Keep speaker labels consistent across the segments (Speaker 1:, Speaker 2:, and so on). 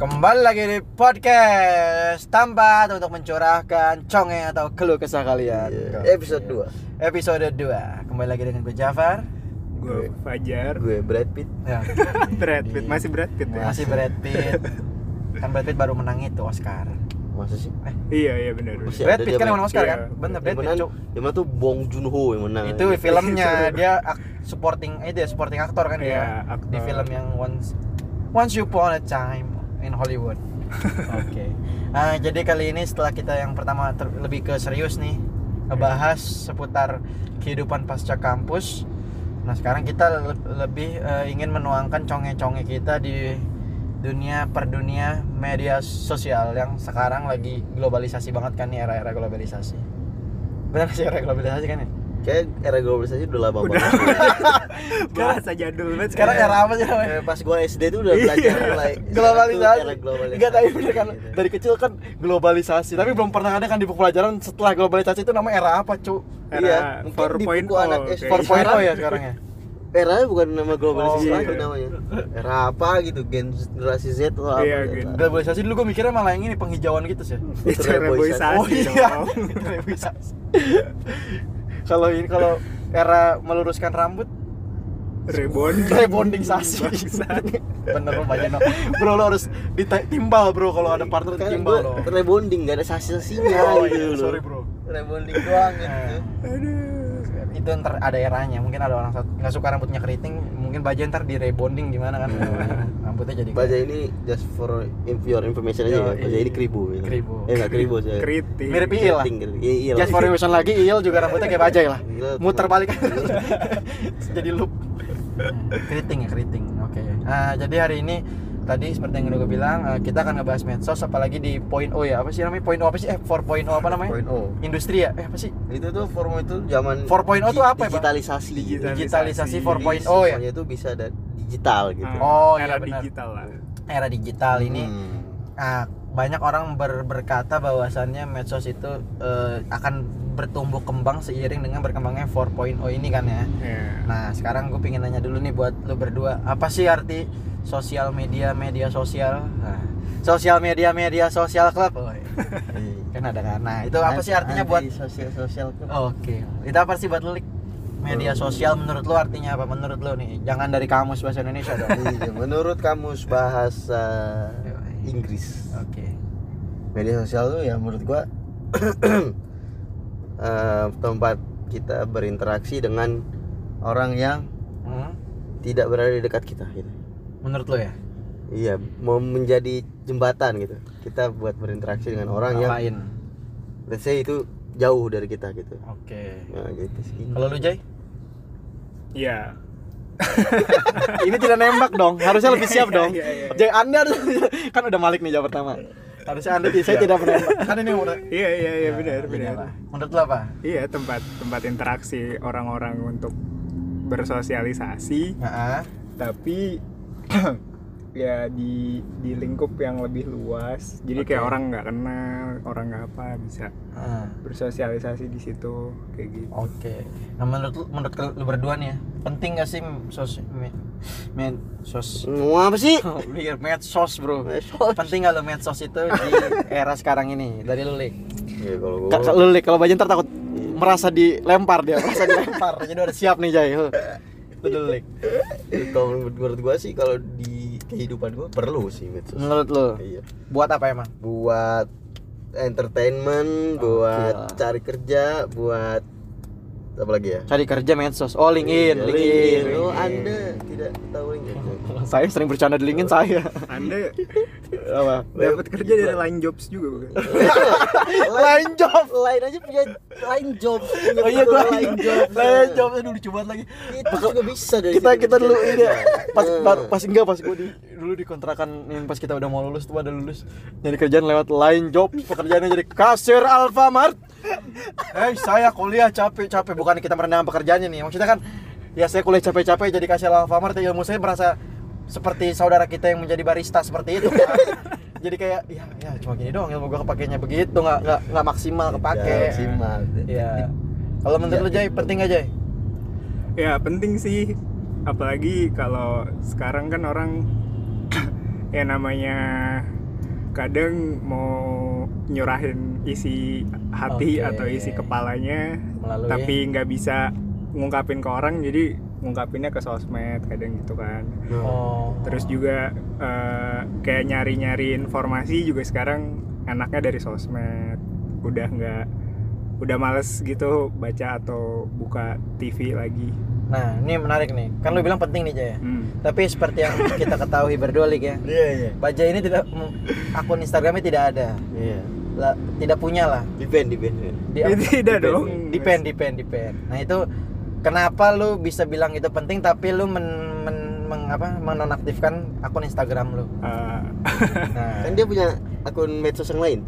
Speaker 1: Kembali lagi di podcast Tempat untuk mencurahkan conge atau keluh kesah kalian
Speaker 2: Iya, Episode 2
Speaker 1: Episode 2 Kembali lagi dengan gue Jafar
Speaker 3: gue
Speaker 2: Gue-
Speaker 3: Fajar
Speaker 2: Gue Brad Pitt
Speaker 1: ya,
Speaker 3: Brad Pitt masih Brad Pitt ya
Speaker 1: Masih Brad Pitt Kan Brad Pitt baru menang itu Oscar
Speaker 2: Masa sih?
Speaker 3: iya iya benar benar.
Speaker 2: Masih
Speaker 1: Brad
Speaker 2: ada
Speaker 1: Pitt
Speaker 2: dia
Speaker 1: kan yang
Speaker 2: main.
Speaker 1: menang Oscar
Speaker 3: Iya.
Speaker 1: kan? Bener Brad
Speaker 2: Yang
Speaker 1: Pitt
Speaker 2: menang,
Speaker 1: Cuk.
Speaker 2: yang menang tuh Bong Joon Ho yang menang
Speaker 1: Itu
Speaker 3: Gitu.
Speaker 1: filmnya dia ak- supporting eh dia supporting aktor kan
Speaker 3: Iya,
Speaker 1: dia
Speaker 3: aktor.
Speaker 1: Di film yang Once Once Upon a Time in Hollywood Oke Nah, jadi kali ini setelah kita yang pertama ter- lebih ke serius nih ngebahas
Speaker 3: Iya.
Speaker 1: seputar kehidupan pasca kampus. Nah, sekarang kita le- lebih eh, ingin menuangkan conge-conge kita di dunia per dunia media sosial yang sekarang lagi globalisasi banget kan nih era-era globalisasi. Benar sih era globalisasi kan ya?
Speaker 2: Kayak era globalisasi udah lama
Speaker 3: udah
Speaker 2: banget
Speaker 3: bahasa jadul banget Iya.
Speaker 1: Sekarang era apa sih namanya?
Speaker 2: Kayak Eh, Pas gue SD tuh udah belajar mulai
Speaker 1: Iya. globalisasi.
Speaker 2: Era globalisasi
Speaker 1: Enggak tapi bener kan
Speaker 2: gitu.
Speaker 1: dari kecil kan globalisasi, tapi belum pernah ada kan di buku pelajaran setelah globalisasi itu namanya era apa, Cuk?
Speaker 3: Era
Speaker 2: Iya, mungkin di
Speaker 3: 4.0
Speaker 2: buku anak
Speaker 3: kayak
Speaker 2: SD.
Speaker 1: 4.0 ya sekarang ya?
Speaker 2: Era bukan nama globalisasi
Speaker 3: Oh,
Speaker 2: lagi
Speaker 3: iya.
Speaker 2: namanya Era apa gitu, generasi Z atau apa
Speaker 3: Iya,
Speaker 2: gitu.
Speaker 3: gen-
Speaker 1: Globalisasi dulu gue mikirnya malah yang ini penghijauan gitu sih.
Speaker 3: itu era boysasi
Speaker 1: Oh iya.
Speaker 3: dong.
Speaker 1: Globalisasi. kalau ini kalau era meluruskan rambut
Speaker 3: Reborn
Speaker 1: rebonding sasi. Bener Om Bajano. Bro lo harus ditimbal bro kalau ada partner
Speaker 2: Kan
Speaker 1: timbal
Speaker 2: gue
Speaker 1: lo.
Speaker 2: rebonding, gak ada sasi-sasinya
Speaker 1: Oh
Speaker 2: gitu
Speaker 1: iya,
Speaker 2: loh.
Speaker 1: sorry bro. Iya, Eh.
Speaker 2: Rebonding doang gitu
Speaker 3: aduh
Speaker 1: itu ntar ada eranya mungkin ada orang sat- nggak suka rambutnya keriting mungkin baja ntar di rebonding gimana kan rambutnya jadi
Speaker 2: Baja ini just for inf- your information aja ya.
Speaker 1: Yoi.
Speaker 2: Baja ini kribo. ya.
Speaker 1: iya. Kribo.
Speaker 2: Eh enggak kribo saya.
Speaker 3: kritik
Speaker 1: Iya. Mirip Iil lah.
Speaker 2: Kriting, kriting. Iya, iya.
Speaker 1: just for information lagi il juga rambutnya kayak bajai lah
Speaker 2: Gila, tuh.
Speaker 1: muter balik jadi loop keriting ya keriting oke nah jadi hari ini tadi seperti yang udah gue bilang eh, kita akan ngebahas medsos apalagi di point O ya apa sih namanya point O apa sih eh 4.0 apa namanya
Speaker 2: 4.0.
Speaker 1: industri ya eh apa sih
Speaker 2: Itu tuh form itu
Speaker 1: 4.0
Speaker 2: zaman
Speaker 1: tuh
Speaker 2: di-
Speaker 1: apa ya, Bang?
Speaker 2: Digitalisasi. gitu.
Speaker 3: Digital.
Speaker 1: digitalisasi
Speaker 3: Digitalisasi.
Speaker 1: 4.0 ya
Speaker 2: Semuanya itu bisa ada digital gitu.
Speaker 3: Ah,
Speaker 1: Oh, iya
Speaker 3: era
Speaker 1: benar.
Speaker 3: digital lah
Speaker 1: era digital ini
Speaker 2: Hmm.
Speaker 1: Ah, banyak orang ber- berkata bahwasannya medsos itu eh, akan bertumbuh kembang seiring dengan berkembangnya 4.0 ini kan ya.
Speaker 3: Iya.
Speaker 1: Nah, sekarang gue pengen nanya dulu nih buat lu berdua, apa sih arti sosial media media sosial? Nah, sosial media media sosial club. Oh, iya. kan ada kan. Nah, itu apa sih artinya buat
Speaker 2: sosial-sosial tuh?
Speaker 1: Oke. Itu apa sih buat lu? Lik? Media sosial menurut lu artinya apa? Menurut lu nih, jangan dari kamus bahasa Indonesia dong.
Speaker 2: Iya, menurut kamus bahasa
Speaker 1: Yoi.
Speaker 2: Inggris.
Speaker 1: Oke.
Speaker 2: media sosial tuh ya menurut gua eh, tempat kita berinteraksi dengan orang yang
Speaker 1: Hmm?
Speaker 2: tidak berada di dekat kita gitu.
Speaker 1: Menurut lu ya?
Speaker 2: Iya, mau menjadi jembatan gitu. Kita buat berinteraksi dengan orang yang
Speaker 1: Lain.
Speaker 2: let's say itu jauh dari kita gitu.
Speaker 1: Oke.
Speaker 2: Nah, gitu sih.
Speaker 1: Kalau lu Jay?
Speaker 3: iya
Speaker 1: Ini tidak nembak dong, harusnya lebih siap dong.
Speaker 3: Iya, iya, iya.
Speaker 1: Jay Anda harus- kan udah Malik nih jawab pertama. Harusnya Anda saya tidak menembak. Kan ini udah
Speaker 3: iya iya iya benar benar
Speaker 1: Menurut lo apa?
Speaker 3: iya tempat tempat interaksi orang-orang untuk bersosialisasi
Speaker 1: Heeh.
Speaker 3: tapi ya di di lingkup yang lebih luas jadi kayak orang nggak kenal orang nggak apa bisa
Speaker 1: Heeh.
Speaker 3: bersosialisasi di situ kayak gitu
Speaker 1: Oke. Nah, menurut lu, menurut lu berdua nih ya, penting gak sih sos me, med sos
Speaker 2: Ngomong apa sih?
Speaker 1: Mikir, medsos bro
Speaker 2: Medsos.
Speaker 1: penting gak lo medsos itu di era sekarang ini dari lu Lik?
Speaker 2: Ya kalau gua
Speaker 1: Kak, lu Lik, kalau Bajan ntar takut merasa dilempar dia merasa dilempar jadi udah siap nih Jay lu dulu, Lik.
Speaker 2: Iya, kalau menurut, menurut gua sih kalau di kehidupan gua perlu sih medsos.
Speaker 1: menurut lu
Speaker 2: Iya.
Speaker 1: buat apa emang
Speaker 2: buat entertainment, buat cari kerja, buat apa lagi ya?
Speaker 1: cari kerja medsos oh LinkedIn
Speaker 2: Iya,
Speaker 1: LinkedIn
Speaker 2: Oh, Anda tidak tahu LinkedIn.
Speaker 1: saya sering bercanda di LinkedIn saya
Speaker 3: anda
Speaker 1: apa
Speaker 3: dapat kerja dari line jobs juga bukan?
Speaker 1: lain job
Speaker 2: lain aja punya lain job. Punya
Speaker 1: oh iya
Speaker 2: fitur
Speaker 1: gua
Speaker 2: lain job. Nah,
Speaker 1: lain job aduh lucu banget lagi
Speaker 2: Itu juga bisa dari
Speaker 1: kita
Speaker 2: situ
Speaker 1: kita dulu
Speaker 2: bikin.
Speaker 1: ini pas
Speaker 2: Hmm.
Speaker 1: baru- pas enggak pas gua di dulu dikontrakan yang pas kita udah mau lulus tuh ada lulus jadi kerjaan lewat lain job pekerjaannya jadi kasir Alfamart eh saya kuliah capek-capek bukan kita merendah pekerjaannya nih maksudnya kan ya saya kuliah capek-capek jadi kasir Alfamart ya ilmu saya merasa seperti saudara kita yang menjadi barista seperti itu kan. jadi kayak ya ya cuma gini doang ilmu gua kepakainya begitu nggak nggak nggak maksimal kepake
Speaker 2: Tidak Iya, maksimal.
Speaker 1: ya kalau menurut lu Jay penting gak Jay
Speaker 3: ya penting sih apalagi kalau sekarang kan orang ya namanya kadang mau nyurahin isi hati
Speaker 1: Oke.
Speaker 3: atau isi kepalanya
Speaker 1: melalui
Speaker 3: tapi nggak bisa ngungkapin ke orang jadi ngungkapinnya ke sosmed kadang gitu kan
Speaker 1: oh
Speaker 3: terus juga eh, kayak nyari-nyari informasi juga sekarang enaknya dari sosmed udah nggak udah males gitu baca atau buka TV lagi
Speaker 1: nah ini menarik nih kan lu bilang penting nih Jaya
Speaker 3: Hmm.
Speaker 1: tapi seperti yang kita ketahui berdolik ya
Speaker 2: Iya iya.
Speaker 1: Baja ini tidak akun Instagramnya tidak ada
Speaker 2: Iya.
Speaker 1: Lah, tidak punya lah
Speaker 2: Depend depend.
Speaker 1: di
Speaker 3: Eh, tidak
Speaker 2: depend,
Speaker 3: dong
Speaker 1: depend depend depend nah itu kenapa lu bisa bilang itu penting tapi lu men, men- meng- apa, menonaktifkan akun Instagram lu
Speaker 3: Eh,
Speaker 1: nah
Speaker 2: Kan dia punya akun medsos yang lain.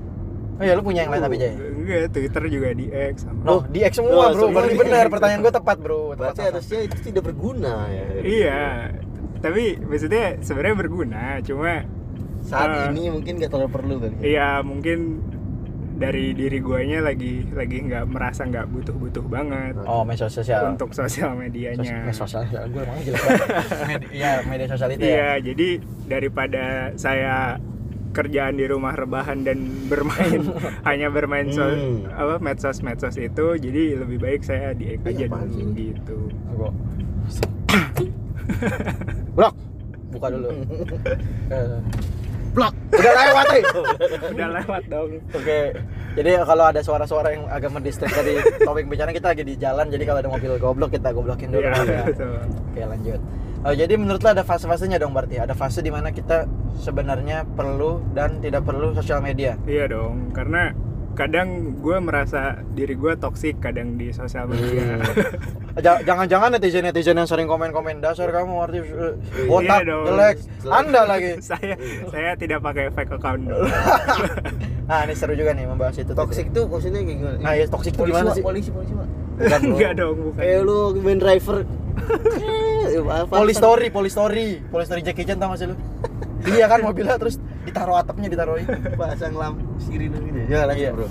Speaker 1: oh ya lu punya yang lain tapi Jay
Speaker 3: enggak Twitter juga di X sama
Speaker 1: Loh, di X semua
Speaker 2: Iya. Oh,
Speaker 1: bro,
Speaker 2: semua
Speaker 1: berarti
Speaker 2: di X.
Speaker 1: benar pertanyaan gue tepat bro tepat
Speaker 2: Berarti
Speaker 1: sasaran.
Speaker 2: harusnya itu tidak berguna ya.
Speaker 3: iya tapi maksudnya sebenarnya berguna cuma Ah.
Speaker 2: Saat ini mungkin nggak terlalu perlu kan.
Speaker 3: Iya mungkin dari diri guanya lagi lagi nggak merasa nggak butuh-butuh banget
Speaker 1: Oh, media sosial.
Speaker 2: Iya.
Speaker 3: untuk sosial medianya.
Speaker 1: media sosial gue emang jelek. banget. Media- Iya, media sosial
Speaker 2: gitu
Speaker 1: itu ya.
Speaker 3: Iya jadi daripada saya kerjaan di rumah rebahan dan bermain hanya bermain so-
Speaker 2: Hmm.
Speaker 3: apa medsos medsos itu jadi lebih baik saya di X aja
Speaker 2: Iya, apaan
Speaker 3: dulu
Speaker 2: sih?
Speaker 3: gitu.
Speaker 1: Gua. Blok. Buka dulu. Eh,
Speaker 2: Blok.
Speaker 1: Udah lewat eh.
Speaker 3: Udah lewat dong.
Speaker 1: Oke. Jadi ya, kalau ada suara-suara yang agak mendistrik dari topik bicara kita lagi di jalan. Jadi kalau ada mobil goblok kita goblokin dulu.
Speaker 3: Iya
Speaker 1: ya.
Speaker 3: betul.
Speaker 1: Oke lanjut. Oh, jadi menurut lo ada fase-fasenya dong berarti. Ada fase di mana kita sebenarnya perlu dan tidak perlu sosial media.
Speaker 3: Iya dong karena kadang gue merasa diri gue toksik kadang di sosial
Speaker 2: Iya.
Speaker 3: media.
Speaker 1: Eh, Ja- Jangan-jangan netizen-netizen yang sering komen-komen dasar kamu artis eh, botak
Speaker 3: Iya dong.
Speaker 1: jelek, anda lagi.
Speaker 3: saya saya tidak pakai fake account dong.
Speaker 1: Nah ini seru juga nih membahas itu.
Speaker 2: Toxic tuh maksudnya kayak gimana?
Speaker 1: Nah ya toxic itu
Speaker 2: polisi,
Speaker 1: gimana
Speaker 2: Wak,
Speaker 1: sih?
Speaker 2: polisi polisi Wak.
Speaker 1: Bukan, bro.
Speaker 3: Enggak dong, bukan.
Speaker 2: Kayak Eh, lu main driver. Eh, apa-
Speaker 1: Polistory, polistory, polistory Jackie Chan tau gak sih lu? iya kan mobilnya terus ditaruh atapnya ditaruhin.
Speaker 2: pasang lampu sirine gitu. Ya lanjut
Speaker 1: Iya.
Speaker 2: bro.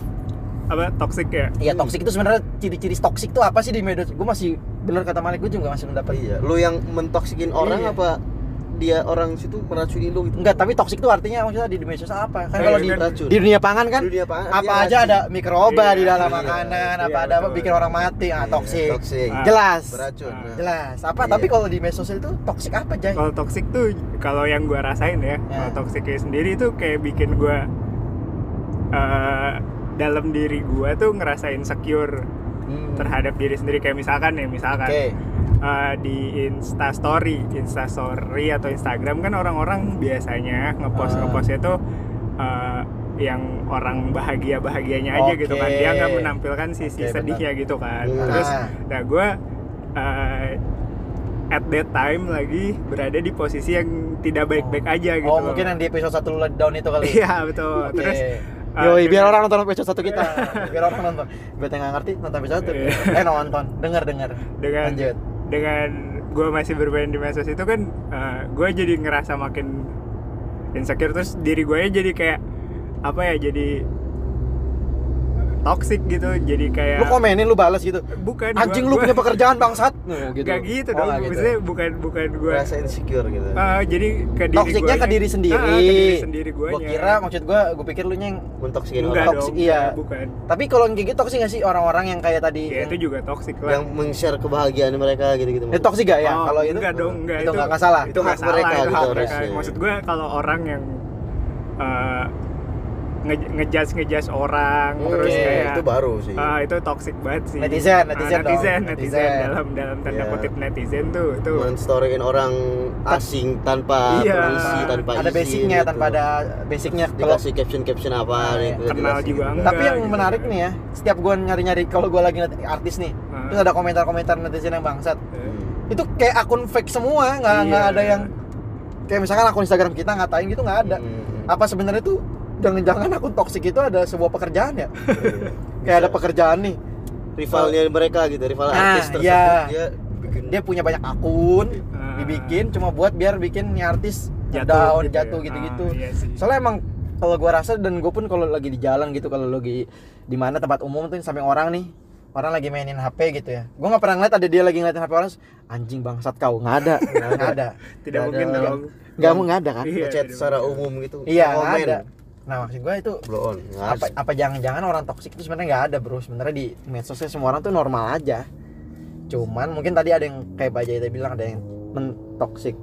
Speaker 3: Apa toxic ya?
Speaker 1: Iya toxic itu sebenarnya ciri-ciri toxic itu apa sih di media? Gue masih bener kata Malik gue juga masih mendapat.
Speaker 2: Iya, lu yang mentoksikin orang
Speaker 1: Iya.
Speaker 2: apa dia orang situ meracuni lu gitu?
Speaker 1: Enggak, tapi toxic itu artinya maksudnya di media sosial apa? Kan kalau di,
Speaker 3: Iya,
Speaker 2: racun.
Speaker 1: di dunia pangan kan
Speaker 2: Dunia pangan,
Speaker 1: apa
Speaker 2: iya,
Speaker 1: aja
Speaker 2: racun.
Speaker 1: ada mikroba
Speaker 3: Iya,
Speaker 1: di dalam
Speaker 2: iya,
Speaker 1: makanan,
Speaker 3: iya,
Speaker 1: apa ada apa
Speaker 3: betul.
Speaker 1: bikin orang mati, ah
Speaker 2: Iya,
Speaker 1: toxic.
Speaker 2: toxic.
Speaker 3: Ah.
Speaker 1: Jelas.
Speaker 2: Beracun.
Speaker 3: Ah.
Speaker 2: nah.
Speaker 1: Jelas. Apa
Speaker 2: Iya.
Speaker 1: tapi kalau di media sosial itu toxic apa, Jay?
Speaker 3: Kalau toxic tuh kalau yang gua rasain ya, kalau toxicnya sendiri tuh kayak bikin gua eh, dalam diri gua tuh ngerasain insecure
Speaker 1: Hmm.
Speaker 3: terhadap diri sendiri kayak misalkan ya, misalkan
Speaker 1: Oke.
Speaker 3: eh, di Insta Story, Insta Story atau Instagram kan orang-orang biasanya
Speaker 1: Ah.
Speaker 3: ngepost ngepostnya tuh eh, yang orang bahagia bahagianya aja gitu kan dia nggak
Speaker 1: Oke.
Speaker 3: menampilkan sisi
Speaker 1: Oke,
Speaker 3: sedihnya gitu kan
Speaker 2: Hmm.
Speaker 3: terus
Speaker 1: Ah.
Speaker 3: nah gue at that time lagi berada di posisi yang tidak baik-baik aja gitu
Speaker 1: Oh,
Speaker 3: loh.
Speaker 1: mungkin yang di episode 1 lockdown itu kali.
Speaker 3: iya betul
Speaker 1: Oke.
Speaker 3: terus eh,
Speaker 1: Yoi, biar
Speaker 3: dengan-
Speaker 1: orang nonton episode satu kita. ah, Iya, biar orang nonton. Buat yang nggak ngerti nonton episode satu.
Speaker 3: Iya.
Speaker 1: eh nonton, dengar dengar.
Speaker 3: dengan ya.
Speaker 1: Lanjut.
Speaker 3: dengan gue masih bermain di medsos itu kan gue jadi ngerasa makin insecure terus diri gue jadi kayak apa ya jadi toxic gitu jadi kayak
Speaker 1: Lu komenin lu balas gitu.
Speaker 3: bukan gua-
Speaker 1: Anjing lu
Speaker 3: gua-
Speaker 1: punya pekerjaan bangsat. Nuh,
Speaker 3: Nggak gitu
Speaker 1: Oh,
Speaker 3: dong
Speaker 1: nggak
Speaker 3: maksudnya bukan bukan gue
Speaker 2: Merasa insecure gitu.
Speaker 1: Ah.
Speaker 3: jadi ke diri
Speaker 1: Toksiknya
Speaker 3: guanya-
Speaker 1: ke diri sendiri.
Speaker 3: Ah, ke diri sendiri guanya.
Speaker 1: Gua kira maksud gua gua pikir lu nyeng.
Speaker 2: Mentoksikin
Speaker 3: Enggak
Speaker 2: orang
Speaker 1: toxic,
Speaker 3: dong,
Speaker 1: iya.
Speaker 3: bukan.
Speaker 1: Tapi kalau yang kayak gitu toksik nggak sih orang-orang yang kayak tadi?
Speaker 3: Ya itu juga toxic lah.
Speaker 2: yang meng-share kebahagiaan mereka gitu-gitu.
Speaker 1: itu toksik gak ya?
Speaker 3: Oh,
Speaker 1: kalau itu
Speaker 3: enggak dong, enggak
Speaker 1: itu nggak- nggak salah.
Speaker 2: Itu hak
Speaker 3: nggak
Speaker 2: mereka
Speaker 3: salah, itu
Speaker 2: gitu
Speaker 3: hak
Speaker 2: harusnya.
Speaker 3: mereka. Maksud gue kalau orang yang eh, nge- ngejudge ngejudge orang
Speaker 2: Hmm,
Speaker 3: terus
Speaker 1: Oke,
Speaker 3: kayak
Speaker 2: itu baru sih.
Speaker 3: ah, itu toxic banget sih.
Speaker 1: Netizen,
Speaker 3: Ah,
Speaker 1: netizen dong,
Speaker 3: netizen,
Speaker 1: netizen. Iya.
Speaker 3: netizen, dalam dalam tanda
Speaker 2: Iya.
Speaker 3: kutip netizen tuh itu
Speaker 2: Men-storyin orang asing tanpa
Speaker 3: Iya.
Speaker 2: permisi, tanpa
Speaker 1: ada
Speaker 2: izin
Speaker 1: basicnya
Speaker 2: gitu.
Speaker 1: tanpa ada basicnya kalau
Speaker 2: dikasih caption-caption apa
Speaker 1: Nah,
Speaker 2: nih,
Speaker 1: iya.
Speaker 2: nggak
Speaker 3: Kenal
Speaker 2: jelasin
Speaker 3: juga
Speaker 2: gitu.
Speaker 3: enggak.
Speaker 1: tapi yang
Speaker 3: gitu
Speaker 1: menarik
Speaker 3: kan.
Speaker 1: nih ya setiap gua nyari-nyari kalau gua lagi ngeliat artis nih
Speaker 3: Ah.
Speaker 1: terus ada komentar-komentar netizen yang bangsat
Speaker 3: eh,
Speaker 1: itu kayak akun fake semua nggak nggak
Speaker 3: Iya.
Speaker 1: ada yang kayak misalkan akun Instagram kita ngatain gitu nggak ada
Speaker 2: Hmm.
Speaker 1: apa sebenarnya tuh jangan-jangan akun toksik itu ada sebuah pekerjaan ya kayak
Speaker 3: Iya.
Speaker 1: ada pekerjaan nih
Speaker 2: rivalnya mereka gitu, rival
Speaker 1: Nah,
Speaker 2: artis tersebut
Speaker 1: iya.
Speaker 2: dia bikin
Speaker 1: dia punya banyak akun
Speaker 3: Ah.
Speaker 1: dibikin cuma buat biar bikin nih artis
Speaker 3: Jatuh
Speaker 1: down
Speaker 3: gitu ya.
Speaker 1: jatuh gitu-gitu
Speaker 3: Ah, iya sih.
Speaker 1: soalnya emang kalau gua rasa dan gue pun kalau lagi di jalan gitu kalau lagi di mana tempat umum tuh sampai orang nih orang lagi mainin HP gitu ya gue nggak pernah ngeliat ada dia lagi ngeliatin HP orang terus, anjing bangsat kau nggak ada nggak ada
Speaker 3: tidak
Speaker 1: Nggak
Speaker 3: mungkin
Speaker 1: ada.
Speaker 3: dong
Speaker 2: nggak mau nggak ada kan
Speaker 3: Iya,
Speaker 2: ngechat
Speaker 3: tidak
Speaker 2: secara
Speaker 3: mungkin.
Speaker 2: umum gitu
Speaker 1: iya nggak
Speaker 2: Komen.
Speaker 1: ada nah maksud gue itu
Speaker 2: blow on nggak
Speaker 1: apa
Speaker 2: ada.
Speaker 1: apa jangan-jangan orang toksik itu sebenarnya nggak ada bro sebenarnya di medsosnya semua orang tuh normal aja cuman mungkin tadi ada yang kayak Pak Jaita bilang ada yang men toksik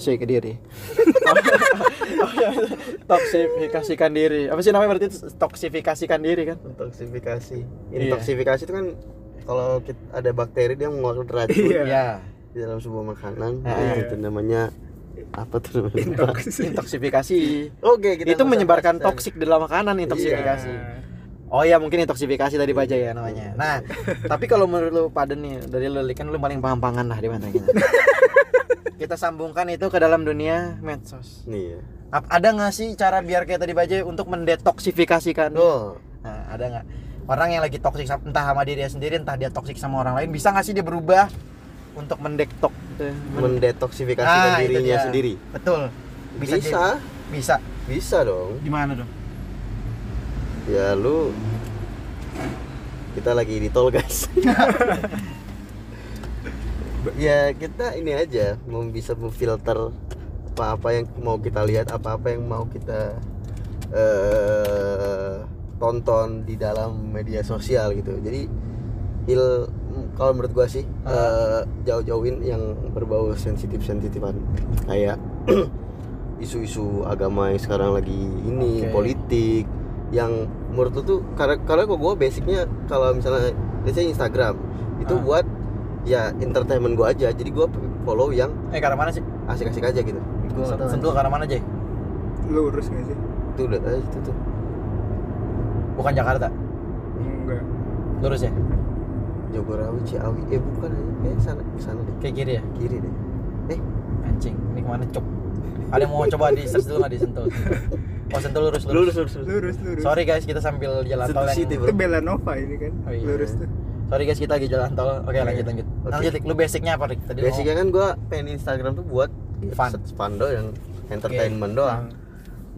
Speaker 1: ke diri toksifikasikan diri apa sih namanya berarti toksifikasikan diri kan
Speaker 2: intoksifikasi
Speaker 1: Iya.
Speaker 2: intoksifikasi itu kan kalau kit- ada bakteri dia mengeluarkan racun
Speaker 3: Iya.
Speaker 1: iya
Speaker 2: di dalam sebuah makanan
Speaker 1: Ah,
Speaker 2: Nah,
Speaker 3: iya.
Speaker 2: itu namanya apa tuh namanya
Speaker 3: Intoksi.
Speaker 1: intoksifikasi
Speaker 2: oke kita
Speaker 1: itu
Speaker 2: nggak usah
Speaker 1: menyebarkan
Speaker 2: bahas
Speaker 1: toksik di dalam makanan
Speaker 3: Iya.
Speaker 1: intoksifikasi Oh iya mungkin intoksifikasi tadi baca ya namanya. Nah, tapi kalau menurut lu pada nih dari lu Lik, kan lu paling paham pangan lah di mana kita. kita sambungkan itu ke dalam dunia medsos.
Speaker 2: tadi. nih ya.
Speaker 1: Ap- ada nggak sih cara biar kayak tadi baca untuk mendetoksifikasikan?
Speaker 2: oh
Speaker 1: Nah, ada nggak? Orang yang lagi toksik sa- entah sama dirinya sendiri, entah dia toksik sama orang lain, bisa nggak sih dia berubah untuk mendektok? gitu? Men-
Speaker 2: mendetoksifikasikan
Speaker 1: Ah, itu
Speaker 2: dirinya
Speaker 1: dia.
Speaker 2: sendiri
Speaker 1: Betul.
Speaker 2: bisa
Speaker 1: jadi-
Speaker 2: bisa,
Speaker 1: Bisa.
Speaker 2: dong
Speaker 1: Gimana dong?
Speaker 2: ya lu kita lagi di tol guys ya kita ini aja mau bisa memfilter apa-apa yang mau kita lihat apa-apa yang mau kita eh tonton di dalam media sosial gitu jadi il kalau menurut gua sih
Speaker 1: Ah.
Speaker 2: eh, jauh-jauhin yang berbau sensitif sensitifan kayak isu-isu agama yang sekarang lagi ini
Speaker 1: Oke.
Speaker 2: politik yang menurut lu tuh karena karena kok gue basicnya kalau misalnya biasanya Instagram itu
Speaker 1: Ah.
Speaker 2: buat ya entertainment gue aja jadi gue follow yang
Speaker 1: Eh, ke arah mana sih?
Speaker 2: asik-asik aja gitu gue
Speaker 1: Sentuh ke arah mana, Jay?
Speaker 3: Lu urus gak sih?
Speaker 2: tuh lihat aja itu tuh
Speaker 1: Bukan Jakarta.
Speaker 3: Enggak.
Speaker 1: Lurus ya?
Speaker 2: Jogorawi Ciawi eh bukan aja eh sana sana deh
Speaker 1: Kayak kiri ya?
Speaker 2: kiri deh Eh,
Speaker 1: anjing ini kemana cok ada yang mau coba di search dulu nggak disentuh oh sentuh lurus lurus,
Speaker 2: lurus lurus lurus
Speaker 3: Lurus, lurus.
Speaker 1: sorry guys kita sambil jalan tol
Speaker 2: Sentuh
Speaker 1: yang...
Speaker 2: City,
Speaker 3: Itu Bella Nova ini kan.
Speaker 1: Oh, iya.
Speaker 3: Lurus tuh.
Speaker 1: sorry guys kita lagi jalan tol oke lanjut lanjut
Speaker 2: Iya. Oke.
Speaker 1: lanjut Dik. lu basicnya apa Rik? tadi
Speaker 2: basicnya kan gue pengen Instagram tuh buat
Speaker 1: Fun.
Speaker 2: fun doang entertainment
Speaker 3: Iya.
Speaker 2: doang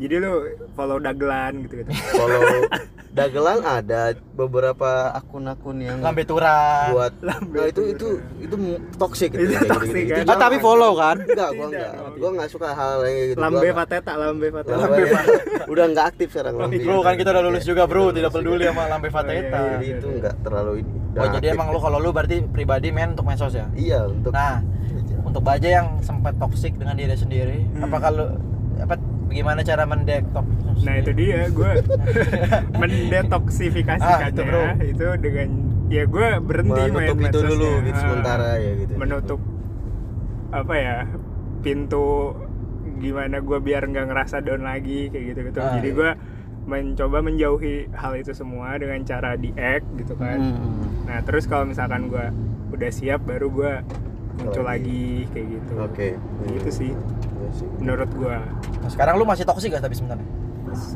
Speaker 3: Jadi lu follow Daglan gitu gitu.
Speaker 2: follow dagelan ada beberapa akun-akun yang
Speaker 1: lu lambe tura
Speaker 2: buat
Speaker 3: Lambe
Speaker 2: nah, itu
Speaker 3: tura.
Speaker 2: itu itu toxic gitu kayak
Speaker 3: Itu
Speaker 2: gitu-gitu.
Speaker 3: toxic,
Speaker 2: Itu
Speaker 3: kan?
Speaker 2: jangan.
Speaker 1: ah tapi follow kan
Speaker 2: enggak gua
Speaker 3: Tidak,
Speaker 2: enggak
Speaker 3: dong.
Speaker 2: gua enggak suka hal yang kayak gitu Gua
Speaker 3: Lambe
Speaker 2: enggak-
Speaker 3: Pateta, Lambe Pateta.
Speaker 2: Lambe Pateta. ya? udah enggak aktif sekarang lambe Iya,
Speaker 1: bro kan kita udah lulus juga bro tidak peduli sama lambe
Speaker 3: Oh,
Speaker 1: fateta
Speaker 2: jadi itu enggak terlalu ini
Speaker 1: oh
Speaker 2: iya, Udah
Speaker 1: jadi
Speaker 2: aktif.
Speaker 1: emang lu kalau lu berarti pribadi men untuk medsos ya
Speaker 2: iya untuk
Speaker 1: nah untuk baja yang sempat toksik dengan diri sendiri
Speaker 3: Hmm.
Speaker 1: apa kalau apa gimana cara mendetoks
Speaker 3: Nah itu dia, gue mendetoksifikasikannya
Speaker 1: Ah, itu, bro.
Speaker 3: itu dengan ya gue berhenti
Speaker 2: menutup
Speaker 3: main
Speaker 2: itu
Speaker 3: medsosnya.
Speaker 2: dulu gitu
Speaker 3: Ah,
Speaker 2: sementara ya gitu
Speaker 3: menutup apa ya pintu gimana gue biar nggak ngerasa down lagi kayak gitu gitu.
Speaker 1: Ah,
Speaker 3: Jadi
Speaker 1: iya.
Speaker 3: gue mencoba menjauhi hal itu semua dengan cara di act gitu kan.
Speaker 1: Hmm.
Speaker 3: Nah terus kalau misalkan gue udah siap baru gue muncul lagi kayak gitu.
Speaker 2: oke
Speaker 3: Gitu sih
Speaker 2: Iya sih.
Speaker 3: menurut gue.
Speaker 1: Nah, sekarang lu masih toksik gak tapi sebenarnya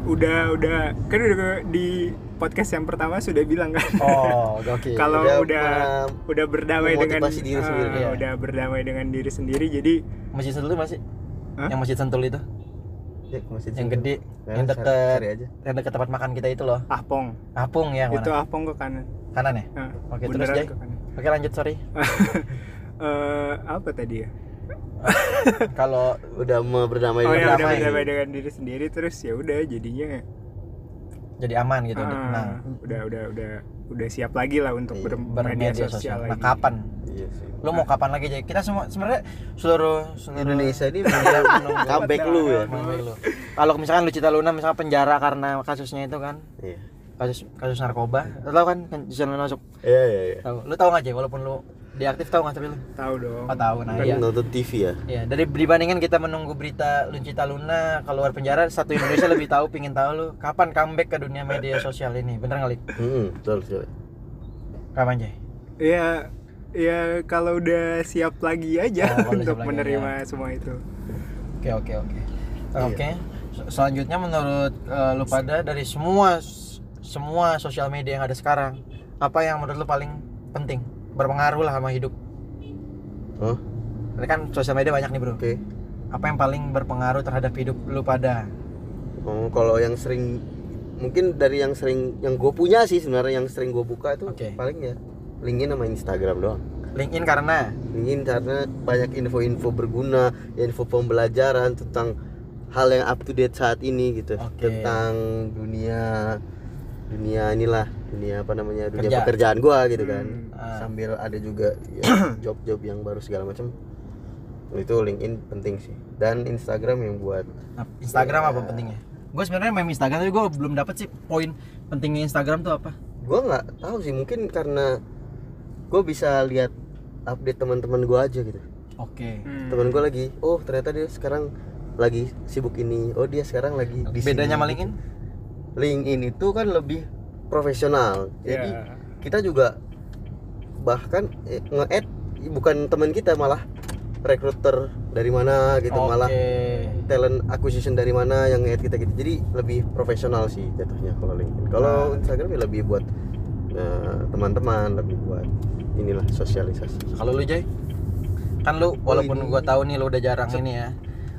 Speaker 3: udah udah kan udah ke- di podcast yang pertama sudah bilang kan
Speaker 1: Oh, oke.
Speaker 3: kalau
Speaker 2: udah,
Speaker 3: udah
Speaker 2: uh,
Speaker 3: udah, berdamai dengan
Speaker 2: memotivasi diri
Speaker 3: ah,
Speaker 2: sendiri,
Speaker 1: ya.
Speaker 3: udah berdamai dengan diri sendiri jadi
Speaker 1: Masjid Sentul itu masih?
Speaker 3: Hah?
Speaker 1: Yang Masjid Sentul itu,
Speaker 2: Ya, masih
Speaker 1: yang
Speaker 2: situ.
Speaker 1: gede,
Speaker 2: Ya,
Speaker 1: yang
Speaker 2: cari-
Speaker 1: deket,
Speaker 2: cari aja
Speaker 1: yang deket tempat makan kita itu loh.
Speaker 3: ahpong
Speaker 1: Apung ya, yang
Speaker 3: Ah itu
Speaker 1: mana?
Speaker 3: ahpong ke kanan
Speaker 1: Kanan ya.
Speaker 3: Ah,
Speaker 1: Oke, terus,
Speaker 3: bundaran
Speaker 1: Jay?
Speaker 3: ke kanan
Speaker 1: Oke lanjut sorry.
Speaker 3: Eh, apa tadi ya
Speaker 1: Kalau
Speaker 2: udah mau berdamai
Speaker 3: oh
Speaker 2: dengan
Speaker 3: ya udah
Speaker 2: damai.
Speaker 3: berdamai dengan diri sendiri terus ya udah jadinya
Speaker 1: jadi aman gitu,
Speaker 3: ah,
Speaker 1: untuk tenang,
Speaker 3: udah udah udah udah siap lagi lah untuk
Speaker 2: Iya,
Speaker 3: ber-
Speaker 1: bermedia sosial. Nah
Speaker 3: lagi. Nah.
Speaker 1: kapan?
Speaker 2: Iya sih.
Speaker 1: Lu mau kapan lagi Jay? Kita semua sebenarnya seluruh seluruh
Speaker 2: Indonesia ini benar comeback lu ya.
Speaker 1: Mengenai lu. Kalau misalkan lu Cita Luna misalkan penjara karena kasusnya itu kan
Speaker 2: Iya.
Speaker 1: kasus kasus narkoba, lu tahu kan kan Cita Luna masuk
Speaker 2: Iya iya iya.
Speaker 1: tahu. Lu tahu nggak Jay? Walaupun lu diaktif tahu nggak tapi lu?
Speaker 3: tahu dong
Speaker 1: Oh, tahu nah
Speaker 2: Kan
Speaker 1: iya.
Speaker 2: nonton TV ya.
Speaker 1: Ya, dari dibandingkan kita menunggu berita Luncita Luna keluar penjara, satu Indonesia lebih tahu, pingin tahu lu kapan comeback ke dunia media sosial ini. Bener nggak, Lik?
Speaker 2: Hmm, betul sekali.
Speaker 1: Kapan, Jay?
Speaker 3: Ya, ya kalau udah siap lagi aja
Speaker 1: Oh, kalau
Speaker 3: untuk
Speaker 1: siap lagi
Speaker 3: menerima semua itu.
Speaker 1: Oke, oke, oke. Oke. se- Selanjutnya menurut eh, lu pada dari semua semua sosial media yang ada sekarang, apa yang menurut lu paling penting? Berpengaruh lah sama hidup.
Speaker 2: Oh,
Speaker 1: Ini kan sosial media banyak nih, Bro.
Speaker 2: oke.
Speaker 1: Apa yang paling berpengaruh terhadap hidup lu pada?
Speaker 2: Oh, kalau yang sering mungkin dari yang sering yang gue punya sih sebenarnya yang sering gue buka itu
Speaker 1: Oke.
Speaker 2: paling ya LinkedIn sama Instagram doang.
Speaker 1: LinkedIn karena
Speaker 2: LinkedIn karena banyak info-info berguna, info pembelajaran tentang hal yang up to date saat ini gitu.
Speaker 1: Oke.
Speaker 2: Tentang dunia dunia inilah, dunia apa namanya? dunia
Speaker 1: Kerja.
Speaker 2: pekerjaan gua gitu kan.
Speaker 3: Hmm.
Speaker 1: Ah.
Speaker 2: Sambil ada juga ya, job-job yang baru segala macam. Itu LinkedIn penting sih. Dan Instagram yang buat
Speaker 1: Nah, Instagram apa pentingnya? Gue sebenarnya main Instagram tapi gue belum dapet sih poin pentingnya Instagram tuh apa.
Speaker 2: gua nggak tahu sih mungkin karena gua bisa lihat update teman-teman gua aja gitu.
Speaker 1: Oke.
Speaker 3: Hmm.
Speaker 2: teman gue lagi oh ternyata dia sekarang lagi sibuk ini oh dia sekarang lagi di sini.
Speaker 1: Bedanya sama LinkedIn?
Speaker 2: LinkedIn itu kan lebih profesional jadi
Speaker 1: Iya.
Speaker 3: Ya.
Speaker 2: kita juga bahkan eh, nge-add bukan teman kita malah rekruter dari mana gitu
Speaker 1: Oke.
Speaker 2: malah talent acquisition dari mana yang nge-add kita gitu jadi lebih profesional sih jatuhnya kalau LinkedIn kalau
Speaker 1: Nah.
Speaker 2: Instagram ya lebih buat eh, teman-teman lebih buat inilah sosialisasi
Speaker 1: Kalau lu Jay? Kan lu walaupun
Speaker 2: ini-
Speaker 1: gue tahu nih lu udah jarang ini ya.